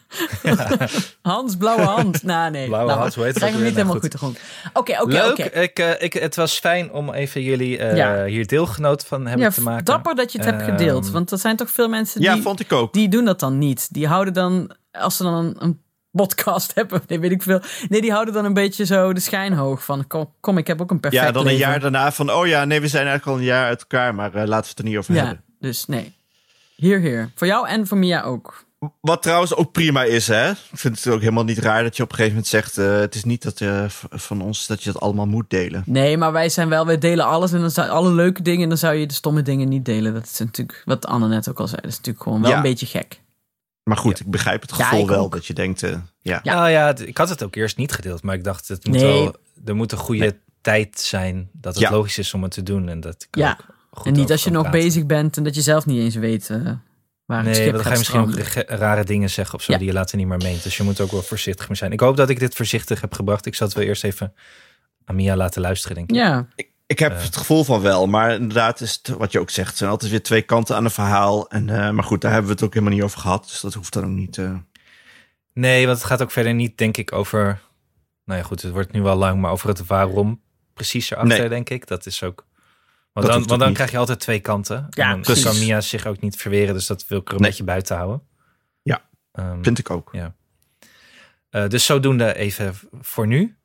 Hans, blauwe hand. Nou, nee. Blauwe Nou, Hans, hoe heet het krijg ook hem niet weer? helemaal Nou, goed te grond. Oké, oké, Leuk, oké. ik, eh, ik, het was fijn om even jullie eh, Ja. hier deelgenoot van hebben Ja, te maken. dapper dat je het hebt gedeeld. Ehm, Want er zijn toch veel mensen die... Ja, vond ik ook. die doen dat dan niet. Die houden dan, als ze dan een, een podcast hebben, nee, weet ik veel. Nee, die houden dan een beetje zo de schijn hoog van, kom, kom ik heb ook een perfect Ja, dan een leven. jaar daarna van, oh ja, nee, we zijn eigenlijk al een jaar uit elkaar, maar eh, laten we het er niet over Ja, hebben. dus nee. Hier, hier. Voor jou en voor Mia ook. Wat trouwens ook prima is, hè? Ik vind het ook helemaal niet raar dat je op een gegeven moment zegt... eh, het is niet dat, eh, v- van ons dat je dat allemaal moet delen. Nee, maar wij zijn wel, wij delen alles en dan zou, alle leuke dingen en dan zou je de stomme dingen niet delen. Dat is natuurlijk, wat Anne net ook al zei, dat is natuurlijk gewoon wel Ja. een beetje gek. Maar goed, ik begrijp het Ja, gevoel ik wel ook. dat je denkt... eh, ja. Ja. Nou ja, d- ik had het ook eerst niet gedeeld, maar ik dacht, het moet Nee. wel, er moet een goede tijd zijn dat het Ja. logisch is om het te doen. En dat ik er Ja. ook goed en niet over als je kan nog praten. bezig bent en dat je zelf niet eens weet eh, waar het Nee, schip gaat want dan ga je misschien ook stranden. rege- rare dingen zeggen of zo Ja. die je later niet meer meent. Dus je moet ook wel voorzichtig mee zijn. Ik hoop dat ik dit voorzichtig heb gebracht. Ik zal het wel eerst even aan Mia laten luisteren, denk ik. Ja, Ik, ik heb Eh. het gevoel van wel, maar inderdaad is het, wat je ook zegt, er zijn altijd weer twee kanten aan een verhaal. En, eh, maar goed, daar hebben we het ook helemaal niet over gehad, dus dat hoeft dan ook niet. eh. Nee, want het gaat ook verder niet, denk ik, over... Nou ja, goed, het wordt nu wel lang, maar over het waarom precies erachter, Nee. denk ik. Dat is ook... Dat Want dan, hoeft ook want dan niet. krijg je altijd twee kanten. Ja, en dan precies. kan Mia zich ook niet verweren, dus dat wil ik er een Nee. beetje buiten houden. Ja. Ehm, Vind ik ook. Eh, dus zodoende even voor nu.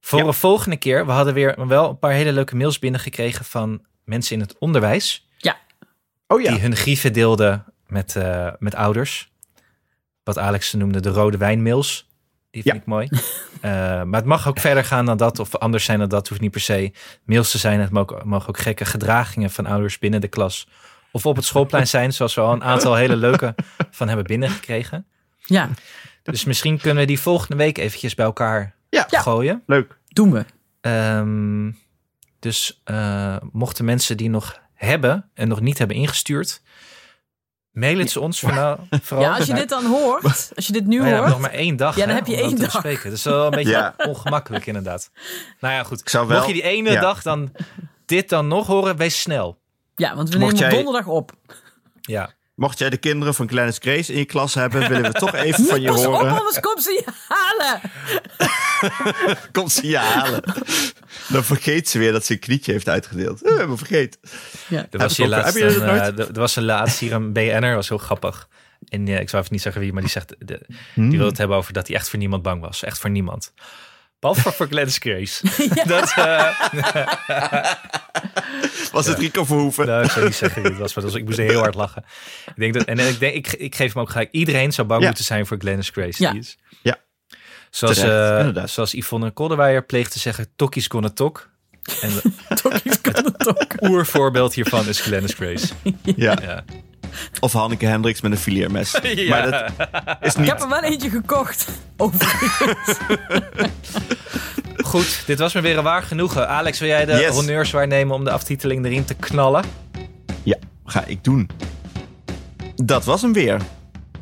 Voor Ja. een volgende keer. We hadden weer wel een paar hele leuke mails binnengekregen van mensen in het onderwijs. Oh ja, Die hun grieven deelden met, eh, met ouders. Wat Alex noemde de rode wijnmails. Die vind Ja. ik mooi. Eh, maar het mag ook verder gaan dan dat. Of anders zijn dan dat. hoeft niet per se mails te zijn. Het mogen, mogen ook gekke gedragingen van ouders binnen de klas. Of op het schoolplein zijn. Zoals we al een aantal hele leuke van hebben binnengekregen. ja, Dus misschien kunnen we die volgende week eventjes bij elkaar ja, gooien. leuk. doen we. Ehm, dus eh, mochten mensen die nog hebben en nog niet hebben ingestuurd, mail het ze ons vooral. vooral. Ja, als je Nou, dit dan hoort, als je dit nu nou ja, hoort, nog maar één dag. Ja, dan hè, heb je om dat één te dag. bespreken. Dus Dat is wel een beetje Ja. ongemakkelijk inderdaad. Nou ja, goed. Ik zou wel- Mocht je die ene ja. dag dan dit dan nog horen, wees snel. ja, want we Mocht nemen jij- op donderdag op. Ja. Mocht jij de kinderen van Kleine Grace in je klas hebben, willen we toch even van je Pas op, horen. anders komt ze je halen. Kom ze je halen. Dan vergeet ze weer dat ze een knietje heeft uitgedeeld. Eh, We hebben vergeten. Er Heb was, ik hier ook- laatst heb je dat een, eh, nooit? er- er was een laatst hier een BN'er, was heel grappig. En eh, ik zou even niet zeggen wie, maar die zegt, de- Hmm. die wil het hebben over dat hij echt voor niemand bang was. Echt voor niemand. Behalve voor- voor Glennis Grace. Dat, eh, Was het Rico Verhoeven? nou, ik zou niet zeggen wie het was, maar dat was- ik moest heel hard lachen. Ik denk dat, en eh, ik, denk, ik, ik geef hem ook gelijk. Iedereen zou bang Ja. moeten zijn voor Glennis Grace. Ja. Die is. Ja. Zoals, Terecht, eh, inderdaad. zoals Yvonne Kolderweijer pleegt te zeggen, tokkies gonna tok. En Tokkies kan het ook. oervoorbeeld hiervan is Glennis Grace. Ja. Ja. Of Hanneke Hendricks met een fileermes. Ja. Maar dat is Ik niet... heb er wel eentje gekocht. Overigens. Goed, dit was me weer een waar genoegen. Alex, wil jij de Yes. honneurs waarnemen om de aftiteling erin te knallen? Ja, ga ik doen. Dat was hem weer.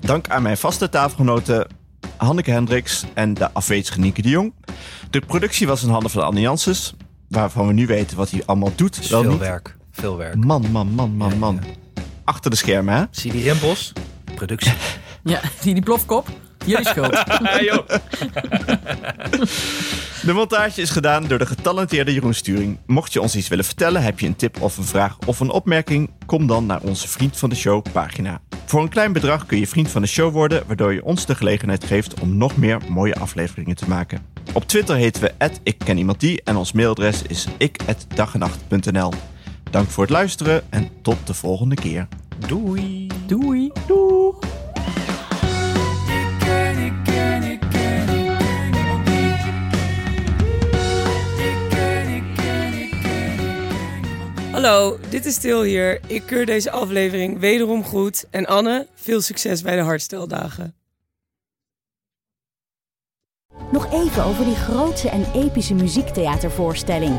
Dank aan mijn vaste tafelgenoten Hanneke Hendricks en de afwezige Nieke de Jong. De productie was in handen van Anne Janssens, waarvan we nu weten wat hij allemaal doet. Dus wel veel niet. werk. Veel werk. Man, man, man, man, man. Achter de schermen, hè? Zie die rimpels? Productie. Ja, die, die plofkop. Jullie schuld. De montage is gedaan door de getalenteerde Jeroen Sturing. Mocht je ons iets willen vertellen, heb je een tip of een vraag of een opmerking, kom dan naar onze Vriend van de Show pagina. Voor een klein bedrag kun je Vriend van de Show worden, waardoor je ons de gelegenheid geeft om nog meer mooie afleveringen te maken. Op Twitter heten we ik ken iemand die en ons mailadres is ik@dagenacht.nl. Dank voor het luisteren en tot de volgende keer. Doei. Doei. Hallo, dit is Til hier. Ik keur deze aflevering wederom goed. En Anne, veel succes bij de hartsteldagen. Nog even over die grootse en epische muziektheatervoorstelling.